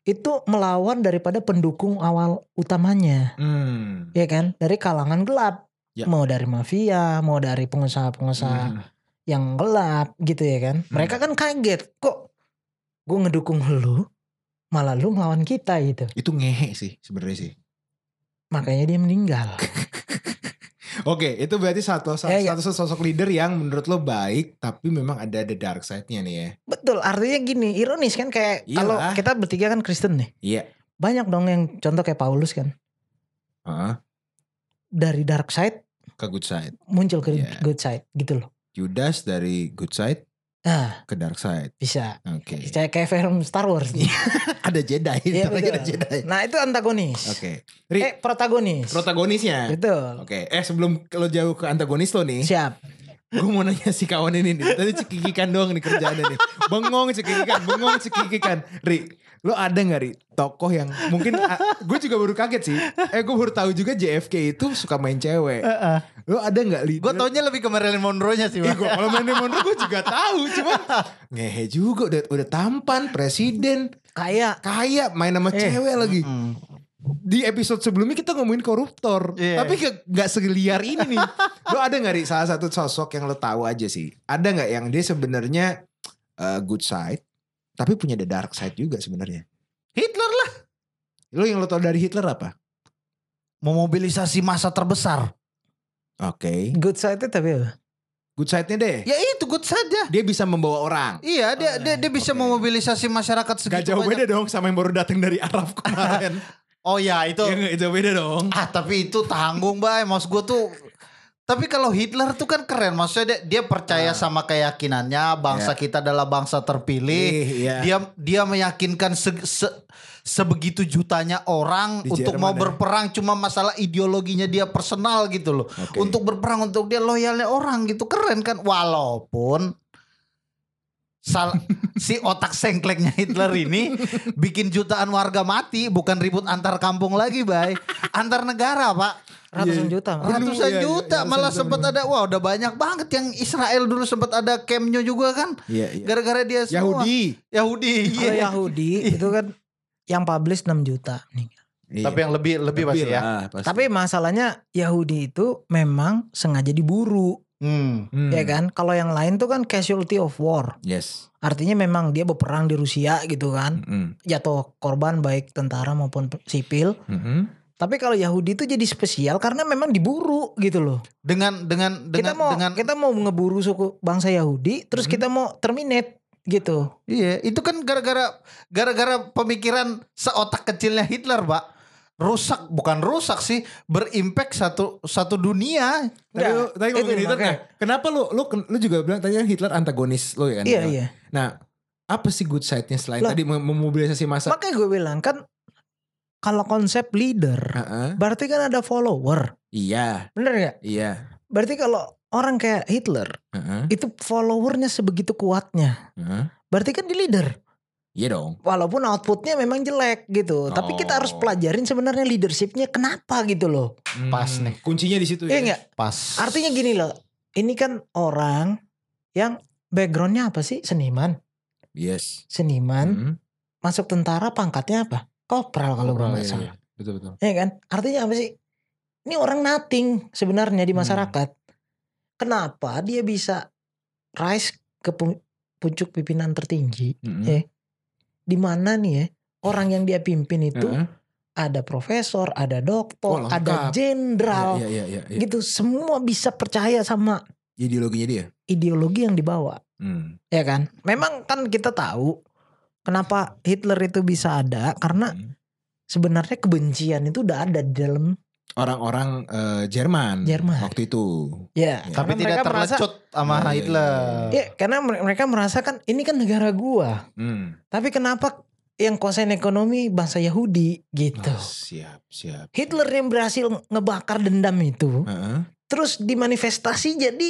Speaker 2: itu melawan daripada pendukung awal utamanya.
Speaker 1: Hmm.
Speaker 2: ya kan dari kalangan gelap
Speaker 1: Ya.
Speaker 2: mau dari mafia mau dari pengusaha-pengusaha
Speaker 1: Hmm.
Speaker 2: yang gelap gitu ya kan mereka kan kaget kok gue ngedukung lu malah lu ngelawan kita gitu
Speaker 1: Itu ngehe sih sebenarnya sih.
Speaker 2: makanya dia meninggal
Speaker 1: Oke, itu berarti satu satu,
Speaker 2: Iya, iya.
Speaker 1: satu sosok leader yang menurut lo baik, tapi memang ada the dark side-nya nih ya.
Speaker 2: betul artinya gini ironis kan kayak kalau
Speaker 1: Iyalah.
Speaker 2: kita bertiga kan Kristen nih
Speaker 1: Iya.
Speaker 2: banyak dong yang contoh kayak Paulus kan
Speaker 1: Heeh.
Speaker 2: dari dark side
Speaker 1: Ke good side.
Speaker 2: muncul ke
Speaker 1: Iya.
Speaker 2: good side gitu loh
Speaker 1: Judas dari good side
Speaker 2: nah
Speaker 1: ke dark side.
Speaker 2: bisa
Speaker 1: Oke.
Speaker 2: kayak kayak film Star Wars
Speaker 1: Iya, ada Jedi,
Speaker 2: Iya,
Speaker 1: lagi ada
Speaker 2: betul.
Speaker 1: Jedi.
Speaker 2: nah itu antagonis
Speaker 1: Oke. Ri,
Speaker 2: eh protagonis
Speaker 1: protagonisnya.
Speaker 2: betul
Speaker 1: Oke, eh sebelum lo jauh ke antagonis lo nih,
Speaker 2: siap
Speaker 1: gue mau nanya si kawan ini nih. Tadi cekikikan doang nih kerjaannya nih. Bengong cekikikan, bengong cekikikan. Ri, lo ada gak Ri tokoh yang mungkin, gue juga baru kaget sih. Eh gue baru tahu juga JFK itu suka main cewek. Lo ada gak leader?
Speaker 3: Gue taunya lebih ke Marilyn Monroe-nya sih,
Speaker 1: Ih,
Speaker 3: Bang.
Speaker 1: Iya. gua kalau main Monroe gue juga tahu, cuman ngehe juga udah udah tampan presiden
Speaker 2: kayak
Speaker 1: kaya main sama cewek lagi.
Speaker 3: Hmm.
Speaker 1: Di episode sebelumnya kita ngomongin koruptor,
Speaker 3: Iya.
Speaker 1: tapi nggak nggak segeliar ini nih. lo ada nggak ri salah satu sosok yang lo tahu aja sih? Ada nggak yang dia sebenarnya uh, good side, tapi punya the dark side juga sebenarnya?
Speaker 3: Hitler lah.
Speaker 1: Lo yang lo tahu dari Hitler apa?
Speaker 3: Memobilisasi masa terbesar.
Speaker 1: Oke,
Speaker 2: good side tapi apa?
Speaker 1: Good side-nya deh.
Speaker 3: Ya itu good saja.
Speaker 1: Dia bisa membawa orang.
Speaker 3: Iya, dia dia, dia bisa memobilisasi masyarakat
Speaker 1: Gak
Speaker 3: segitu
Speaker 1: jauh
Speaker 3: banyak.
Speaker 1: beda dong sama yang baru datang dari Arab kemarin.
Speaker 3: Oh ya, itu.
Speaker 1: ya gak jauh beda dong.
Speaker 3: Ah, tapi itu tanggung, Bay. Maksud gue tuh tapi kalau Hitler tuh kan keren, maksudnya dia, dia percaya sama keyakinannya bangsa kita adalah bangsa terpilih.
Speaker 1: Ih, iya.
Speaker 3: Dia dia meyakinkan se- se- sebegitu jutanya orang
Speaker 1: Di
Speaker 3: untuk mau
Speaker 1: Jerman ya.
Speaker 3: berperang cuma masalah ideologinya dia personal gitu loh.
Speaker 1: Oke.
Speaker 3: Untuk berperang untuk dia loyalnya orang gitu keren kan walaupun sal- si otak sengkleknya Hitler ini bikin jutaan warga mati bukan ribut antar kampung lagi, Bay. Antar negara, Pak.
Speaker 1: Iya.
Speaker 2: Ratusan juta. Mas.
Speaker 1: Bener,
Speaker 3: Ratusan
Speaker 1: iya, iya,
Speaker 3: juta
Speaker 1: iya,
Speaker 3: malah
Speaker 1: ratusan
Speaker 3: sempat
Speaker 1: juta.
Speaker 3: ada wah udah banyak banget yang Israel dulu sempat ada campnya juga kan
Speaker 1: Iya, iya.
Speaker 3: gara-gara dia semua
Speaker 1: Yahudi.
Speaker 3: Yahudi
Speaker 2: Kalau
Speaker 3: iya.
Speaker 2: Yahudi itu kan yang publish 6 juta nih.
Speaker 1: Iya.
Speaker 3: tapi yang lebih lebih, pasti ya
Speaker 2: Tapi masalahnya Yahudi itu memang sengaja diburu,
Speaker 3: hmm.
Speaker 2: ya kan? Kalau yang lain tuh kan casualty of war.
Speaker 1: Yes.
Speaker 2: Artinya memang dia berperang di Rusia gitu kan.
Speaker 1: Mm-mm.
Speaker 2: Jatuh korban baik tentara maupun sipil.
Speaker 1: Mm-mm.
Speaker 2: Tapi kalau Yahudi itu jadi spesial karena memang diburu gitu loh.
Speaker 3: dengan dengan dengan
Speaker 2: kita mau
Speaker 3: dengan Hmm.
Speaker 2: kita mau ngeburu suku bangsa Yahudi, terus kita mau terminate gitu.
Speaker 3: iya itu kan gara-gara gara-gara pemikiran seotak kecilnya Hitler pak rusak bukan rusak sih berimpact satu satu dunia
Speaker 1: Tapi
Speaker 2: Nggak,
Speaker 1: lu, tadi
Speaker 2: itu
Speaker 1: ngomongin Hitler
Speaker 2: makanya.
Speaker 1: nggak? Kenapa lu, lu, lu juga bilang tadi kan Hitler antagonis lu ya kan?
Speaker 2: Iya iya.
Speaker 1: Nah, apa sih good side-nya selain
Speaker 2: Lah.
Speaker 1: tadi mem- memobilisasi massa?
Speaker 2: Makanya gue bilang kan kalau konsep leader
Speaker 1: Heeh.
Speaker 2: berarti kan ada follower.
Speaker 1: Iya,
Speaker 2: Bener nggak?
Speaker 1: iya.
Speaker 2: Berarti kalau orang kayak Hitler
Speaker 1: Heeh,
Speaker 2: itu followernya sebegitu kuatnya.
Speaker 1: heeh.
Speaker 2: Berarti kan di leader.
Speaker 1: Iya dong.
Speaker 2: Walaupun outputnya memang jelek gitu. Tapi kita harus
Speaker 1: Oh.
Speaker 2: pelajarin sebenarnya leadershipnya kenapa gitu loh.
Speaker 3: Pas nih.
Speaker 1: Kuncinya di situ
Speaker 2: Iya
Speaker 1: ya.
Speaker 2: nggak?
Speaker 3: pas
Speaker 2: Artinya gini loh, ini kan orang yang backgroundnya apa sih? Seniman,
Speaker 1: Yes.
Speaker 2: seniman,
Speaker 1: Mm.
Speaker 2: masuk tentara pangkatnya apa? Kopral kalau gue
Speaker 1: Moral,
Speaker 2: nggak
Speaker 1: iya,
Speaker 2: salah.
Speaker 1: iya. Betul betul.
Speaker 2: Ya kan? Artinya apa sih? Ini orang nothing sebenarnya di
Speaker 1: Hmm.
Speaker 2: masyarakat. Kenapa dia bisa rise ke pu- puncak pimpinan tertinggi?
Speaker 1: Mm-mm.
Speaker 2: Iya. Di mana nih ya? Orang yang dia pimpin itu
Speaker 1: Heeh.
Speaker 2: ada profesor, ada
Speaker 1: Oh,
Speaker 2: doktor,
Speaker 1: lengkap.
Speaker 2: ada jenderal,
Speaker 1: Iya iya iya. iya.
Speaker 2: gitu. Semua bisa percaya sama
Speaker 1: Ideologinya dia.
Speaker 2: ideologi yang dibawa.
Speaker 1: Hmm.
Speaker 2: ya kan? Memang kan kita tahu kenapa Hitler itu bisa ada karena
Speaker 1: Hmm.
Speaker 2: sebenarnya kebencian itu udah ada di dalam
Speaker 1: Orang-orang eh, Jerman,
Speaker 2: Jerman.
Speaker 1: waktu itu.
Speaker 2: ya. karena
Speaker 3: tapi tidak
Speaker 2: mereka merasa-
Speaker 3: terlecut
Speaker 1: Iya,
Speaker 3: sama
Speaker 1: iya, iya,
Speaker 3: Hitler
Speaker 1: iya.
Speaker 2: Ya, karena mer- mereka merasakan ini kan negara gua.
Speaker 1: Hmm.
Speaker 2: Tapi kenapa yang kuasain ekonomi bangsa Yahudi gitu.
Speaker 1: Ah, siap siap.
Speaker 2: Hitler yang berhasil ngebakar dendam itu
Speaker 1: Heeh.
Speaker 2: terus dimanifestasi jadi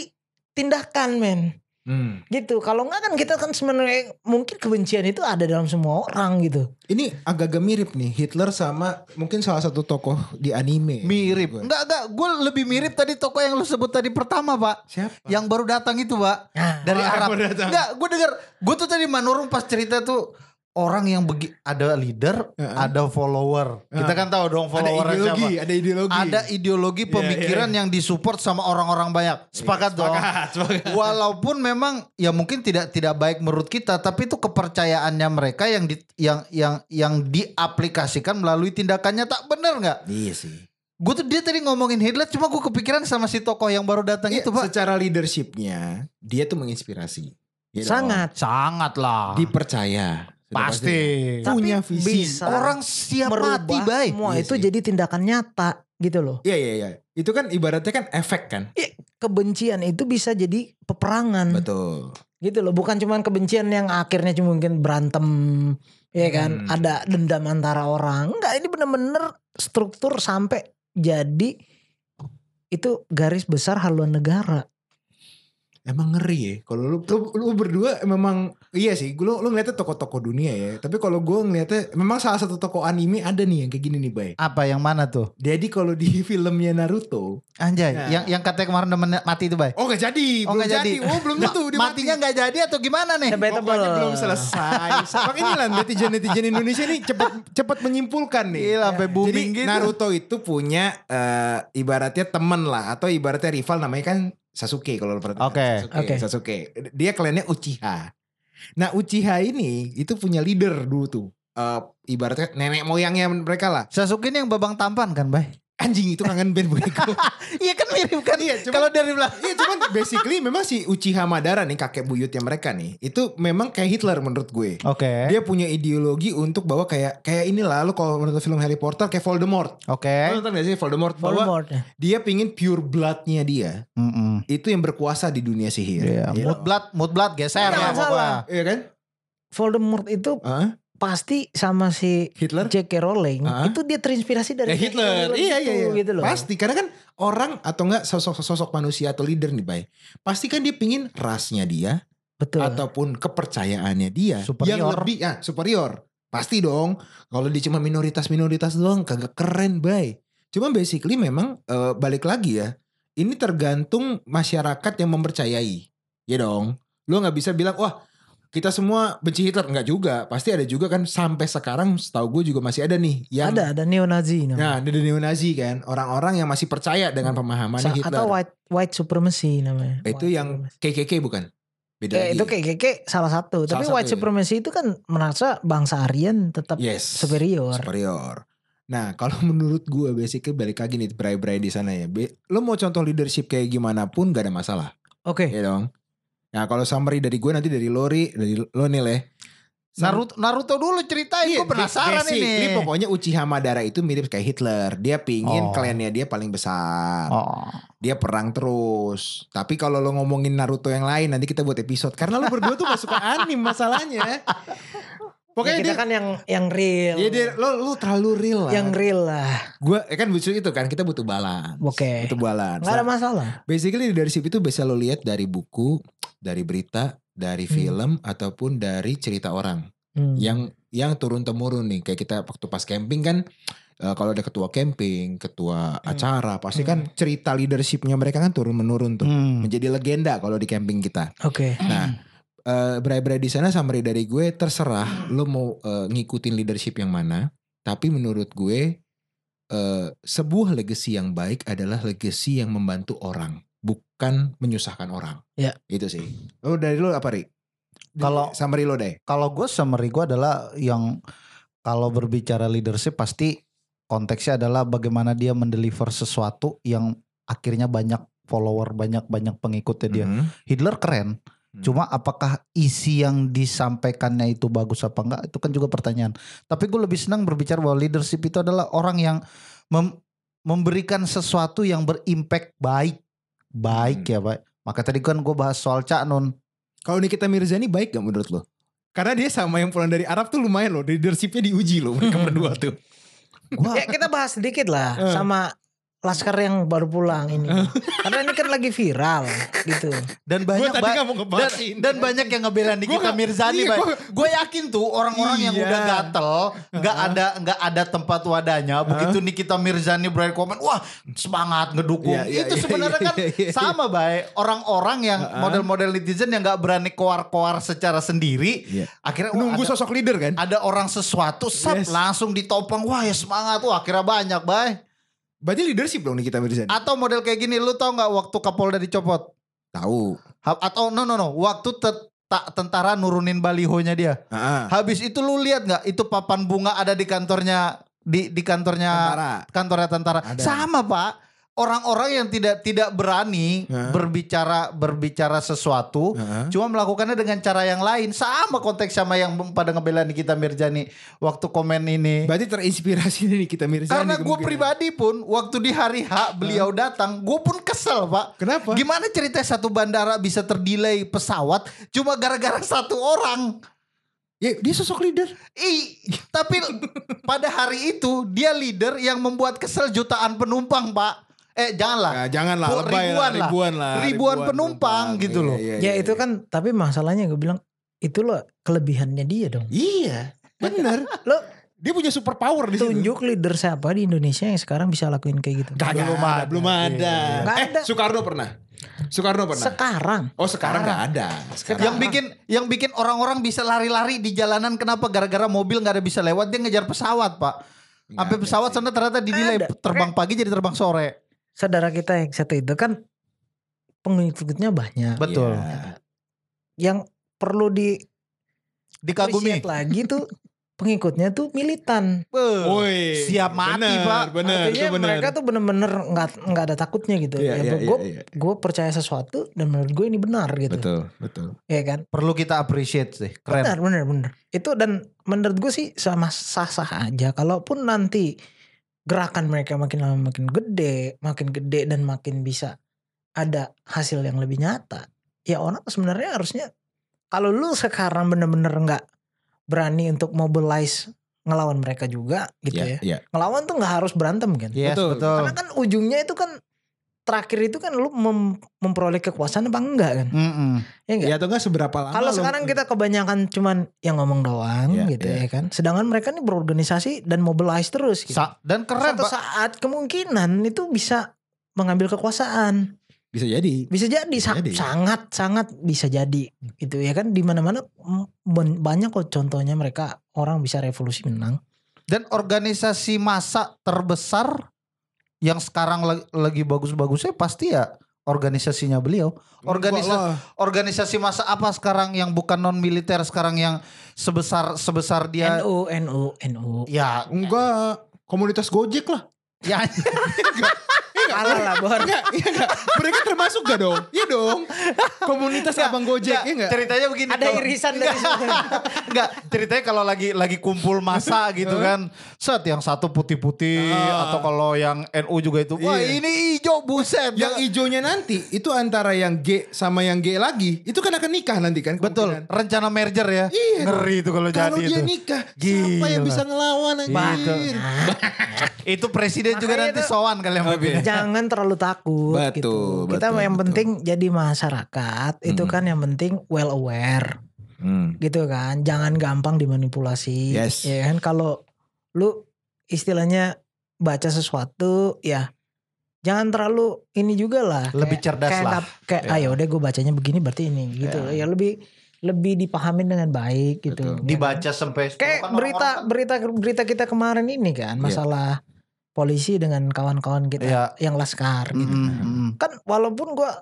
Speaker 2: tindakan men
Speaker 1: Hmm.
Speaker 2: gitu kalau nggak kan kita kan sebenarnya mungkin kebencian itu ada dalam semua orang gitu
Speaker 1: Ini agak-agak mirip nih Hitler sama mungkin salah satu tokoh di anime.
Speaker 3: Mirip.
Speaker 1: Gua.
Speaker 3: Enggak, enggak. Gue lebih mirip tadi toko yang lu sebut tadi pertama, Pak.
Speaker 1: Siapa?
Speaker 3: Yang baru datang itu, Pak.
Speaker 2: Nah.
Speaker 1: Oh,
Speaker 3: Dari
Speaker 1: yang
Speaker 3: Arab.
Speaker 1: baru datang.
Speaker 3: Enggak, gue denger. Gue tuh tadi manurung pas cerita tuh. Orang yang begi ada leader,
Speaker 1: Heeh.
Speaker 3: ada follower. Kita
Speaker 1: Heeh.
Speaker 3: kan tahu dong
Speaker 1: ada
Speaker 3: follower
Speaker 1: ideologi,
Speaker 3: siapa.
Speaker 1: ada ideologi.
Speaker 3: Ada ideologi
Speaker 1: Iya,
Speaker 3: pemikiran
Speaker 1: iya.
Speaker 3: yang disupport sama orang-orang banyak. Sepakat dong.
Speaker 1: Sepakat, sepakat.
Speaker 3: Walaupun memang ya mungkin tidak tidak baik menurut kita, tapi itu kepercayaannya mereka yang di, yang yang yang diaplikasikan melalui tindakannya tak benar nggak?
Speaker 1: Iya sih.
Speaker 3: Gue tuh dia tadi ngomongin Hitler cuma gue kepikiran sama si tokoh yang baru datang
Speaker 1: Iya,
Speaker 3: itu pak.
Speaker 1: secara leadershipnya dia tuh menginspirasi. Iya dong. Ah.
Speaker 2: sangat
Speaker 3: Sangat lah.
Speaker 1: dipercaya. Sudah
Speaker 3: pasti.
Speaker 2: Tapi
Speaker 1: Punya visi.
Speaker 2: bisa
Speaker 3: Orang siap mati
Speaker 2: merubah
Speaker 3: baik.
Speaker 2: semua
Speaker 1: Iya
Speaker 2: itu
Speaker 1: sih.
Speaker 2: jadi tindakan nyata gitu loh.
Speaker 1: Iya iya iya. Itu kan ibaratnya kan efek kan.
Speaker 2: Kebencian itu bisa jadi
Speaker 1: Hmm.
Speaker 2: peperangan
Speaker 1: Betul.
Speaker 2: gitu loh. Bukan cuman kebencian yang akhirnya cuma mungkin berantem ya
Speaker 1: Hmm.
Speaker 2: kan, ada dendam antara orang. Enggak, ini bener-bener struktur sampai jadi itu garis besar haluan negara.
Speaker 1: Emang ngeri ya. Kalau lu, lu lu berdua memang iya sih. Lu lu ngeliatnya toko-toko dunia ya. Tapi kalau gue ngeliatnya memang salah satu toko anime ada nih yang kayak gini nih, Bay.
Speaker 3: Apa yang mana tuh?
Speaker 1: Jadi kalau di filmnya Naruto,
Speaker 3: Anjay,
Speaker 1: Nah.
Speaker 3: yang yang katanya kemarin demen mati itu bay.
Speaker 1: Oh nggak jadi,
Speaker 3: Oh,
Speaker 1: belum
Speaker 3: nggak jadi.
Speaker 1: jadi. Oh belum tentu dia
Speaker 3: Matinya nggak jadi atau gimana nih?
Speaker 2: Debat. Debatable.
Speaker 1: Pokoknya belum selesai. Makanya ini lah netizen netizen Indonesia nih cepet cepet menyimpulkan nih.
Speaker 3: Gila, sampai
Speaker 1: Jadi
Speaker 3: booming gitu.
Speaker 1: Naruto itu punya eh, ibaratnya temen lah atau ibaratnya rival namanya kan Sasuke kalau lo perhatikan.
Speaker 3: Oke.
Speaker 1: Sasuke,
Speaker 2: Oke.
Speaker 1: Sasuke. Dia kliennya Uchiha. Nah Uchiha ini itu punya leader dulu tuh. Eh, ibaratnya nenek moyangnya mereka lah.
Speaker 3: Sasuke ini yang babang tampan kan bay?
Speaker 1: Anjing itu kangen band boneka.
Speaker 2: Iya kan mirip kan?
Speaker 1: Iya, cuma-
Speaker 2: Kalau dari belakang.
Speaker 1: Iya cuman basically memang si Uchiha Madara nih kakek buyutnya mereka nih itu memang kayak Hitler menurut gue.
Speaker 3: Oke.
Speaker 1: Dia punya ideologi untuk bahwa kayak kayak inilah lo kalau menonton film Harry Potter kayak Voldemort.
Speaker 3: Oke.
Speaker 1: Lo nonton gak sih Voldemort? Bahwa
Speaker 2: Voldemort.
Speaker 1: dia pingin pure bloodnya dia
Speaker 3: Mm-mm.
Speaker 1: itu yang berkuasa di dunia sihir.
Speaker 3: Iya,
Speaker 1: You know?
Speaker 3: Mood blood, mood blood geser
Speaker 2: Jangan
Speaker 3: ya
Speaker 2: salah.
Speaker 3: pokoknya.
Speaker 1: Iya kan?
Speaker 2: Voldemort itu
Speaker 1: Hah?
Speaker 2: pasti sama si
Speaker 1: Hitler?
Speaker 2: J.K. Rowling.
Speaker 1: Ah.
Speaker 2: Itu dia terinspirasi dari
Speaker 1: Ya
Speaker 2: J.K.
Speaker 1: Hitler,
Speaker 2: Rowling
Speaker 1: iya
Speaker 2: itu,
Speaker 1: iya iya.
Speaker 2: Gitu loh.
Speaker 1: Pasti karena kan orang atau enggak sosok-sosok manusia atau leader nih, Bay. Pasti kan dia pingin rasnya dia
Speaker 2: Betul.
Speaker 1: ataupun kepercayaannya dia yang
Speaker 3: Superior.
Speaker 1: lebih ah, superior. Pasti dong. Kalau dia cuma minoritas-minoritas doang kagak keren, Bay. Cuma basically memang eh, balik lagi ya. Ini tergantung masyarakat yang mempercayai. Ya dong. Lu nggak bisa bilang, "Wah, kita semua benci Hitler." Enggak juga. Pasti ada juga kan sampai sekarang setahu gue juga masih ada nih yang
Speaker 2: ada ada neo-nazi namanya.
Speaker 1: Nah, di dunia Nazi kan, orang-orang yang masih percaya dengan pemahaman
Speaker 2: Hmm. Sa-
Speaker 1: Hitler.
Speaker 2: atau white white supremacy namanya.
Speaker 1: itu
Speaker 2: White
Speaker 1: yang
Speaker 2: supremacy.
Speaker 1: KKK bukan? Beda
Speaker 2: Kayak
Speaker 1: lagi. ya?
Speaker 2: itu kayak KKK salah satu,
Speaker 1: Salah
Speaker 2: tapi
Speaker 1: satu,
Speaker 2: white
Speaker 1: ya.
Speaker 2: supremacy itu kan merasa bangsa Aryan tetap
Speaker 1: Yes.
Speaker 2: superior.
Speaker 1: Superior. Nah, kalau menurut gue basically balik lagi nih berai-berai di sana ya. Be- Lo mau contoh leadership kayak gimana pun gak ada masalah,
Speaker 2: Oke.
Speaker 1: ya dong. Nah, kalau summary dari gue nanti dari Lori, dari lo nih
Speaker 3: Eh,
Speaker 1: leh.
Speaker 3: Naruto, Naruto dulu ceritain,
Speaker 1: Iya,
Speaker 3: gue penasaran
Speaker 1: basically
Speaker 3: ini.
Speaker 1: pokoknya Uchiha Madara itu mirip kayak Hitler. Dia pingin
Speaker 3: Oh.
Speaker 1: kliennya dia paling besar.
Speaker 3: Oh.
Speaker 1: dia perang terus. Tapi kalau lo ngomongin Naruto yang lain nanti kita buat episode karena lo berdua tuh gak suka anime masalahnya.
Speaker 2: Pokoknya
Speaker 1: Pokoknya
Speaker 2: Ya, kita
Speaker 1: dia,
Speaker 2: kan yang yang real.
Speaker 1: ya dia- lo lo terlalu real lah.
Speaker 2: yang real lah.
Speaker 1: Gua ya kan lucu itu kan kita butuh balance.
Speaker 2: Oke.
Speaker 1: Butuh balance.
Speaker 2: Gak Eh, ada masalah.
Speaker 1: Nah, Basically dari situ itu bisa lo lihat dari buku, dari berita, dari
Speaker 2: Hmm.
Speaker 1: film ataupun dari cerita orang
Speaker 2: Hmm.
Speaker 1: yang yang turun temurun nih kayak kita waktu pas camping kan eh, kalau ada ketua camping, ketua
Speaker 2: Hmm.
Speaker 1: acara pasti kan cerita leadershipnya mereka kan turun menurun tuh
Speaker 2: Hmm.
Speaker 3: Hmm.
Speaker 1: menjadi legenda kalau di camping kita.
Speaker 2: Oke.
Speaker 1: Nah, eh berai-berai di sana summary dari gue terserah
Speaker 3: Hmm.
Speaker 1: lo mau eh, ngikutin leadership yang mana, tapi menurut gue eh, sebuah legacy yang baik adalah legacy yang membantu orang, bukan menyusahkan orang.
Speaker 2: Ya.
Speaker 1: Itu sih. Lo dari lo apa, Ri? Dari
Speaker 3: Kalau-
Speaker 1: summary lo deh.
Speaker 3: Kalau gue summary gue adalah yang kalau berbicara leadership pasti konteksnya adalah bagaimana dia mendeliver sesuatu yang akhirnya banyak follower, banyak banyak pengikutnya dia.
Speaker 1: Mhm.
Speaker 3: Hitler keren,
Speaker 1: Hmm.
Speaker 3: cuma apakah isi yang disampaikannya itu bagus apa enggak itu kan juga pertanyaan. Tapi gue lebih senang berbicara bahwa leadership itu adalah orang yang mem- memberikan sesuatu yang berimpact baik, baik ya pak. Maka tadi kan gue bahas soal Cak Nun.
Speaker 1: Kalau Nikita Mirzani baik gak menurut lo? Karena dia sama yang pulang dari Arab tuh lumayan loh, leadershipnya diuji loh
Speaker 3: Hmm.
Speaker 1: mereka berdua tuh.
Speaker 3: Gua-
Speaker 2: Ya kita bahas sedikit lah
Speaker 1: Eh.
Speaker 2: sama Laskar yang baru pulang ini. Karena ini kan lagi viral gitu.
Speaker 3: dan
Speaker 1: Gue
Speaker 3: banyak
Speaker 1: tadi
Speaker 3: ba-
Speaker 1: gak mau
Speaker 3: dan,
Speaker 1: ngebahas ini.
Speaker 3: dan banyak yang ngebelain
Speaker 1: Gua
Speaker 3: Nikita
Speaker 1: nggak-
Speaker 3: Mirzani,
Speaker 1: iya,
Speaker 3: Bay.
Speaker 1: gua-
Speaker 3: Gue yakin tuh orang-orang yang
Speaker 1: Iya.
Speaker 3: udah gatel, nggak ada nggak ada tempat wadahnya. Begitu Nikita Mirzani berani komen, wah semangat ngedukung.
Speaker 1: Iya, iya,
Speaker 3: Itu
Speaker 1: iya,
Speaker 3: sebenarnya
Speaker 1: iya,
Speaker 3: kan
Speaker 1: iya, iya.
Speaker 3: sama, Bay. Orang-orang yang
Speaker 1: Heeh.
Speaker 3: model-model netizen yang nggak berani keluar-keluar secara sendiri,
Speaker 1: Iya.
Speaker 3: akhirnya wah,
Speaker 1: Nunggu
Speaker 3: ada,
Speaker 1: sosok leader kan?
Speaker 3: ada orang sesuatu, set,
Speaker 1: Yes.
Speaker 3: langsung ditopang, wah ya semangat, wah akhirnya banyak, Bay.
Speaker 1: Berarti leadership dong Nikita Mirzani.
Speaker 3: Atau model kayak gini, lu tau nggak waktu Kapolda dicopot?
Speaker 1: Tahu.
Speaker 3: Ha- atau no no no waktu te- ta- tentara nurunin balihonya dia
Speaker 1: Heeh.
Speaker 3: Ah. habis itu lu lihat nggak itu papan bunga ada di kantornya di di kantornya
Speaker 1: Tentara.
Speaker 3: kantornya tentara
Speaker 1: Ada.
Speaker 3: sama pak orang-orang yang tidak tidak berani
Speaker 1: Heeh.
Speaker 3: berbicara berbicara sesuatu
Speaker 1: Heeh.
Speaker 3: cuma melakukannya dengan cara yang lain sama konteks sama yang pada ngebelain kita Mirjani waktu komen ini
Speaker 1: Berarti terinspirasi dari Nikita Mirzani.
Speaker 3: karena gue
Speaker 1: kemungkinan.
Speaker 3: pribadi pun waktu di hari H beliau datang gue pun kesel pak
Speaker 1: Kenapa?
Speaker 3: Gimana cerita satu bandara bisa terdelay pesawat cuma gara-gara satu orang?
Speaker 1: Ya, dia sosok leader.
Speaker 3: Ih, tapi pada hari itu dia leader yang membuat kesel jutaan penumpang, Pak. Eh,
Speaker 1: Nah,
Speaker 3: janganlah.
Speaker 1: janganlah
Speaker 3: Bu,
Speaker 1: lebay
Speaker 3: ribuan lah.
Speaker 1: ribuan lah.
Speaker 3: Ribuan penumpang
Speaker 1: Iya,
Speaker 3: gitu loh.
Speaker 1: Iya,
Speaker 2: Ya itu kan tapi masalahnya gue bilang itu loh kelebihannya dia dong.
Speaker 1: Iya, bener.
Speaker 2: Lo
Speaker 1: Dia punya super power di situ.
Speaker 2: tunjuk leader siapa di Indonesia yang sekarang bisa lakuin kayak gitu.
Speaker 1: Gak
Speaker 3: Belum
Speaker 1: ada,
Speaker 3: ada.
Speaker 1: Belum ada.
Speaker 2: iya. Gak
Speaker 1: Eh,
Speaker 2: ada.
Speaker 1: Soekarno pernah. Soekarno pernah.
Speaker 2: Sekarang
Speaker 1: oh, sekarang gak ada. Sekarang.
Speaker 3: Yang bikin yang bikin orang-orang bisa lari-lari di jalanan kenapa gara-gara mobil nggak ada bisa lewat dia ngejar pesawat, Pak. Sampai
Speaker 1: ada
Speaker 3: pesawat
Speaker 1: sih.
Speaker 3: sana ternyata dinilai
Speaker 2: Ada.
Speaker 3: terbang pagi jadi terbang sore.
Speaker 2: saudara kita yang satu itu kan pengikutnya banyak.
Speaker 3: Betul.
Speaker 1: Iya.
Speaker 2: Yang perlu di
Speaker 3: Dikagumi.
Speaker 2: appreciate lagi tuh pengikutnya tuh militan.
Speaker 3: Beuh.
Speaker 1: Woi,
Speaker 3: Siap mati,
Speaker 1: bener,
Speaker 3: Pak.
Speaker 1: Bener, itu
Speaker 2: Artinya
Speaker 1: bener.
Speaker 2: mereka tuh bener-bener nggak nggak ada takutnya gitu.
Speaker 1: Iya,
Speaker 2: ya
Speaker 1: iya,
Speaker 2: gue
Speaker 1: iya, iya.
Speaker 2: gue percaya sesuatu dan menurut gue ini benar gitu.
Speaker 1: betul, betul.
Speaker 2: Ya kan?
Speaker 3: Perlu kita appreciate sih. Keren.
Speaker 2: Benar, benar, benar. Itu dan menurut gue sih sama sah-sah aja. Kalaupun nanti gerakan mereka makin lama makin gede, makin gede dan makin bisa ada hasil yang lebih nyata. Ya orang sebenarnya harusnya kalau lu sekarang bener-bener nggak berani untuk mobilize ngelawan mereka juga gitu ya.
Speaker 1: Iya.
Speaker 2: Ngelawan tuh nggak harus berantem kan.
Speaker 3: Yes,
Speaker 1: Betul.
Speaker 3: betul.
Speaker 2: Karena kan ujungnya itu kan terakhir itu kan lu mem- memperoleh kekuasaan apa enggak kan?
Speaker 3: Mm-mm.
Speaker 2: Ya enggak?
Speaker 1: Ya atau enggak seberapa lama
Speaker 2: Kalau
Speaker 1: lu-
Speaker 2: sekarang kita kebanyakan cuman yang ngomong doang
Speaker 1: Iya,
Speaker 2: gitu
Speaker 1: iya.
Speaker 2: ya kan. Sedangkan mereka nih berorganisasi dan mobilize terus gitu.
Speaker 3: Sa- dan keren,
Speaker 2: Suatu
Speaker 3: Pak.
Speaker 2: saat kemungkinan itu bisa mengambil kekuasaan.
Speaker 1: bisa jadi.
Speaker 2: Bisa jadi sa-
Speaker 1: Jadi.
Speaker 2: sangat sangat bisa jadi gitu ya kan di mana-mana mm, ben- banyak kok contohnya mereka orang bisa revolusi menang.
Speaker 3: Dan organisasi massa terbesar yang sekarang lagi, lagi bagus-bagusnya pasti ya organisasinya beliau. Organisa-
Speaker 1: Wah, lah.
Speaker 3: Organisasi massa apa sekarang yang bukan non militer sekarang yang sebesar sebesar
Speaker 1: Iya.
Speaker 3: dia
Speaker 2: NU NU NU.
Speaker 3: ya
Speaker 1: enggak komunitas Gojek lah.
Speaker 3: ya
Speaker 2: Kalah lah Bor.
Speaker 1: Enggak, iya enggak. Mereka termasuk gak dong? Iya dong. Komunitas Abang Gojek, iya enggak?
Speaker 3: ceritanya begini
Speaker 2: Ada
Speaker 1: iya.
Speaker 3: kalau-
Speaker 2: irisan dari sana.
Speaker 3: Enggak, ceritanya kalau lagi lagi kumpul masa gitu kan. Set yang satu putih-putih
Speaker 1: Ah.
Speaker 3: atau kalau yang NU juga itu. Wah,
Speaker 1: Iya.
Speaker 3: ini hijau buset.
Speaker 1: Yang ijonya nanti itu antara yang G sama yang G lagi, itu kan akan nikah nanti kan?
Speaker 3: betul,
Speaker 1: kemungkinan.
Speaker 3: rencana merger ya.
Speaker 1: Iya.
Speaker 3: Ngeri itu kalau jadi
Speaker 1: Kalau dia
Speaker 3: itu.
Speaker 1: nikah, siapa
Speaker 3: Gila.
Speaker 1: yang bisa ngelawan
Speaker 2: Iya.
Speaker 3: Gitu.
Speaker 1: anjir?
Speaker 3: Itu presiden juga
Speaker 2: Makanya
Speaker 3: nanti
Speaker 2: tuh-
Speaker 3: sowan kali yang
Speaker 1: Oke.
Speaker 2: jangan terlalu takut
Speaker 1: Betul,
Speaker 2: gitu. Kita
Speaker 1: betul,
Speaker 2: yang
Speaker 1: betul.
Speaker 2: penting jadi masyarakat itu
Speaker 1: Mm.
Speaker 2: kan yang penting well aware gitu kan. Jangan gampang dimanipulasi.
Speaker 1: Yes.
Speaker 2: Ya kan kalau lu istilahnya baca sesuatu ya jangan terlalu ini juga lah.
Speaker 3: Lebih
Speaker 2: Kayak-
Speaker 3: cerdas
Speaker 2: kayak
Speaker 3: lah.
Speaker 2: nggak- kayak
Speaker 1: Ya.
Speaker 2: ayo udah gue bacanya begini berarti ini gitu. Ya lebih lebih dipahami dengan baik gitu.
Speaker 1: Betul.
Speaker 2: Ya kan?
Speaker 3: Dibaca sampai
Speaker 2: Kayak
Speaker 3: kan
Speaker 2: berita
Speaker 3: orang-orang kan-
Speaker 2: berita berita kita kemarin ini kan
Speaker 1: Iya.
Speaker 2: masalah polisi dengan kawan-kawan kita
Speaker 3: Iya.
Speaker 2: yang laskar gitu.
Speaker 3: Mm, mm, mm.
Speaker 2: Kan walaupun gua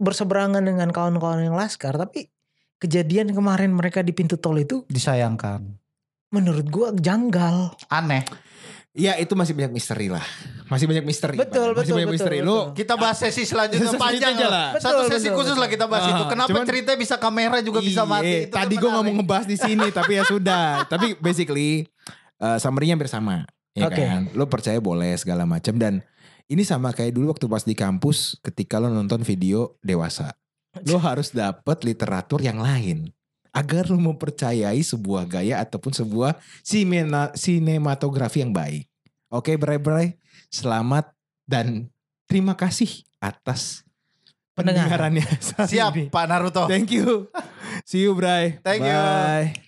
Speaker 2: berseberangan dengan kawan-kawan yang laskar tapi kejadian kemarin mereka di pintu tol itu
Speaker 3: disayangkan.
Speaker 2: menurut gua janggal.
Speaker 3: Aneh.
Speaker 1: Ya itu masih banyak misteri lah. Masih banyak misteri.
Speaker 2: Betul,
Speaker 1: Bang. masih
Speaker 2: betul,
Speaker 1: banyak
Speaker 2: betul,
Speaker 1: misteri.
Speaker 2: betul.
Speaker 1: Lu
Speaker 3: Kita bahas sesi selanjutnya
Speaker 1: Sesi
Speaker 3: panjang
Speaker 1: aja
Speaker 3: lah.
Speaker 1: lah.
Speaker 3: Satu
Speaker 2: Betul,
Speaker 3: sesi
Speaker 2: betul,
Speaker 3: khusus
Speaker 2: betul.
Speaker 3: lah kita bahas
Speaker 1: Ah,
Speaker 3: itu. Kenapa
Speaker 1: cuman-
Speaker 3: cerita bisa kamera juga bisa
Speaker 1: Iya,
Speaker 3: mati? Itu
Speaker 1: Tadi gue
Speaker 3: kan menarik.
Speaker 1: ngomong ngebahas di sini, tapi ya sudah. tapi basically eh summary-nya hampir sama, ya
Speaker 2: Oke.
Speaker 1: kan? Lo percaya boleh segala macam dan ini sama kayak dulu waktu pas di kampus ketika lo nonton video dewasa. Lo harus dapet literatur yang lain agar lo mempercayai sebuah gaya ataupun sebuah simena- sinematografi yang baik. Oke, bray-bray. Selamat dan terima kasih atas
Speaker 2: Pendengaran.
Speaker 1: pendengarannya. saat
Speaker 3: Siap
Speaker 1: ini.
Speaker 3: Pak Naruto.
Speaker 1: Thank you. See you, Bray.
Speaker 3: Thank you.
Speaker 1: Bye.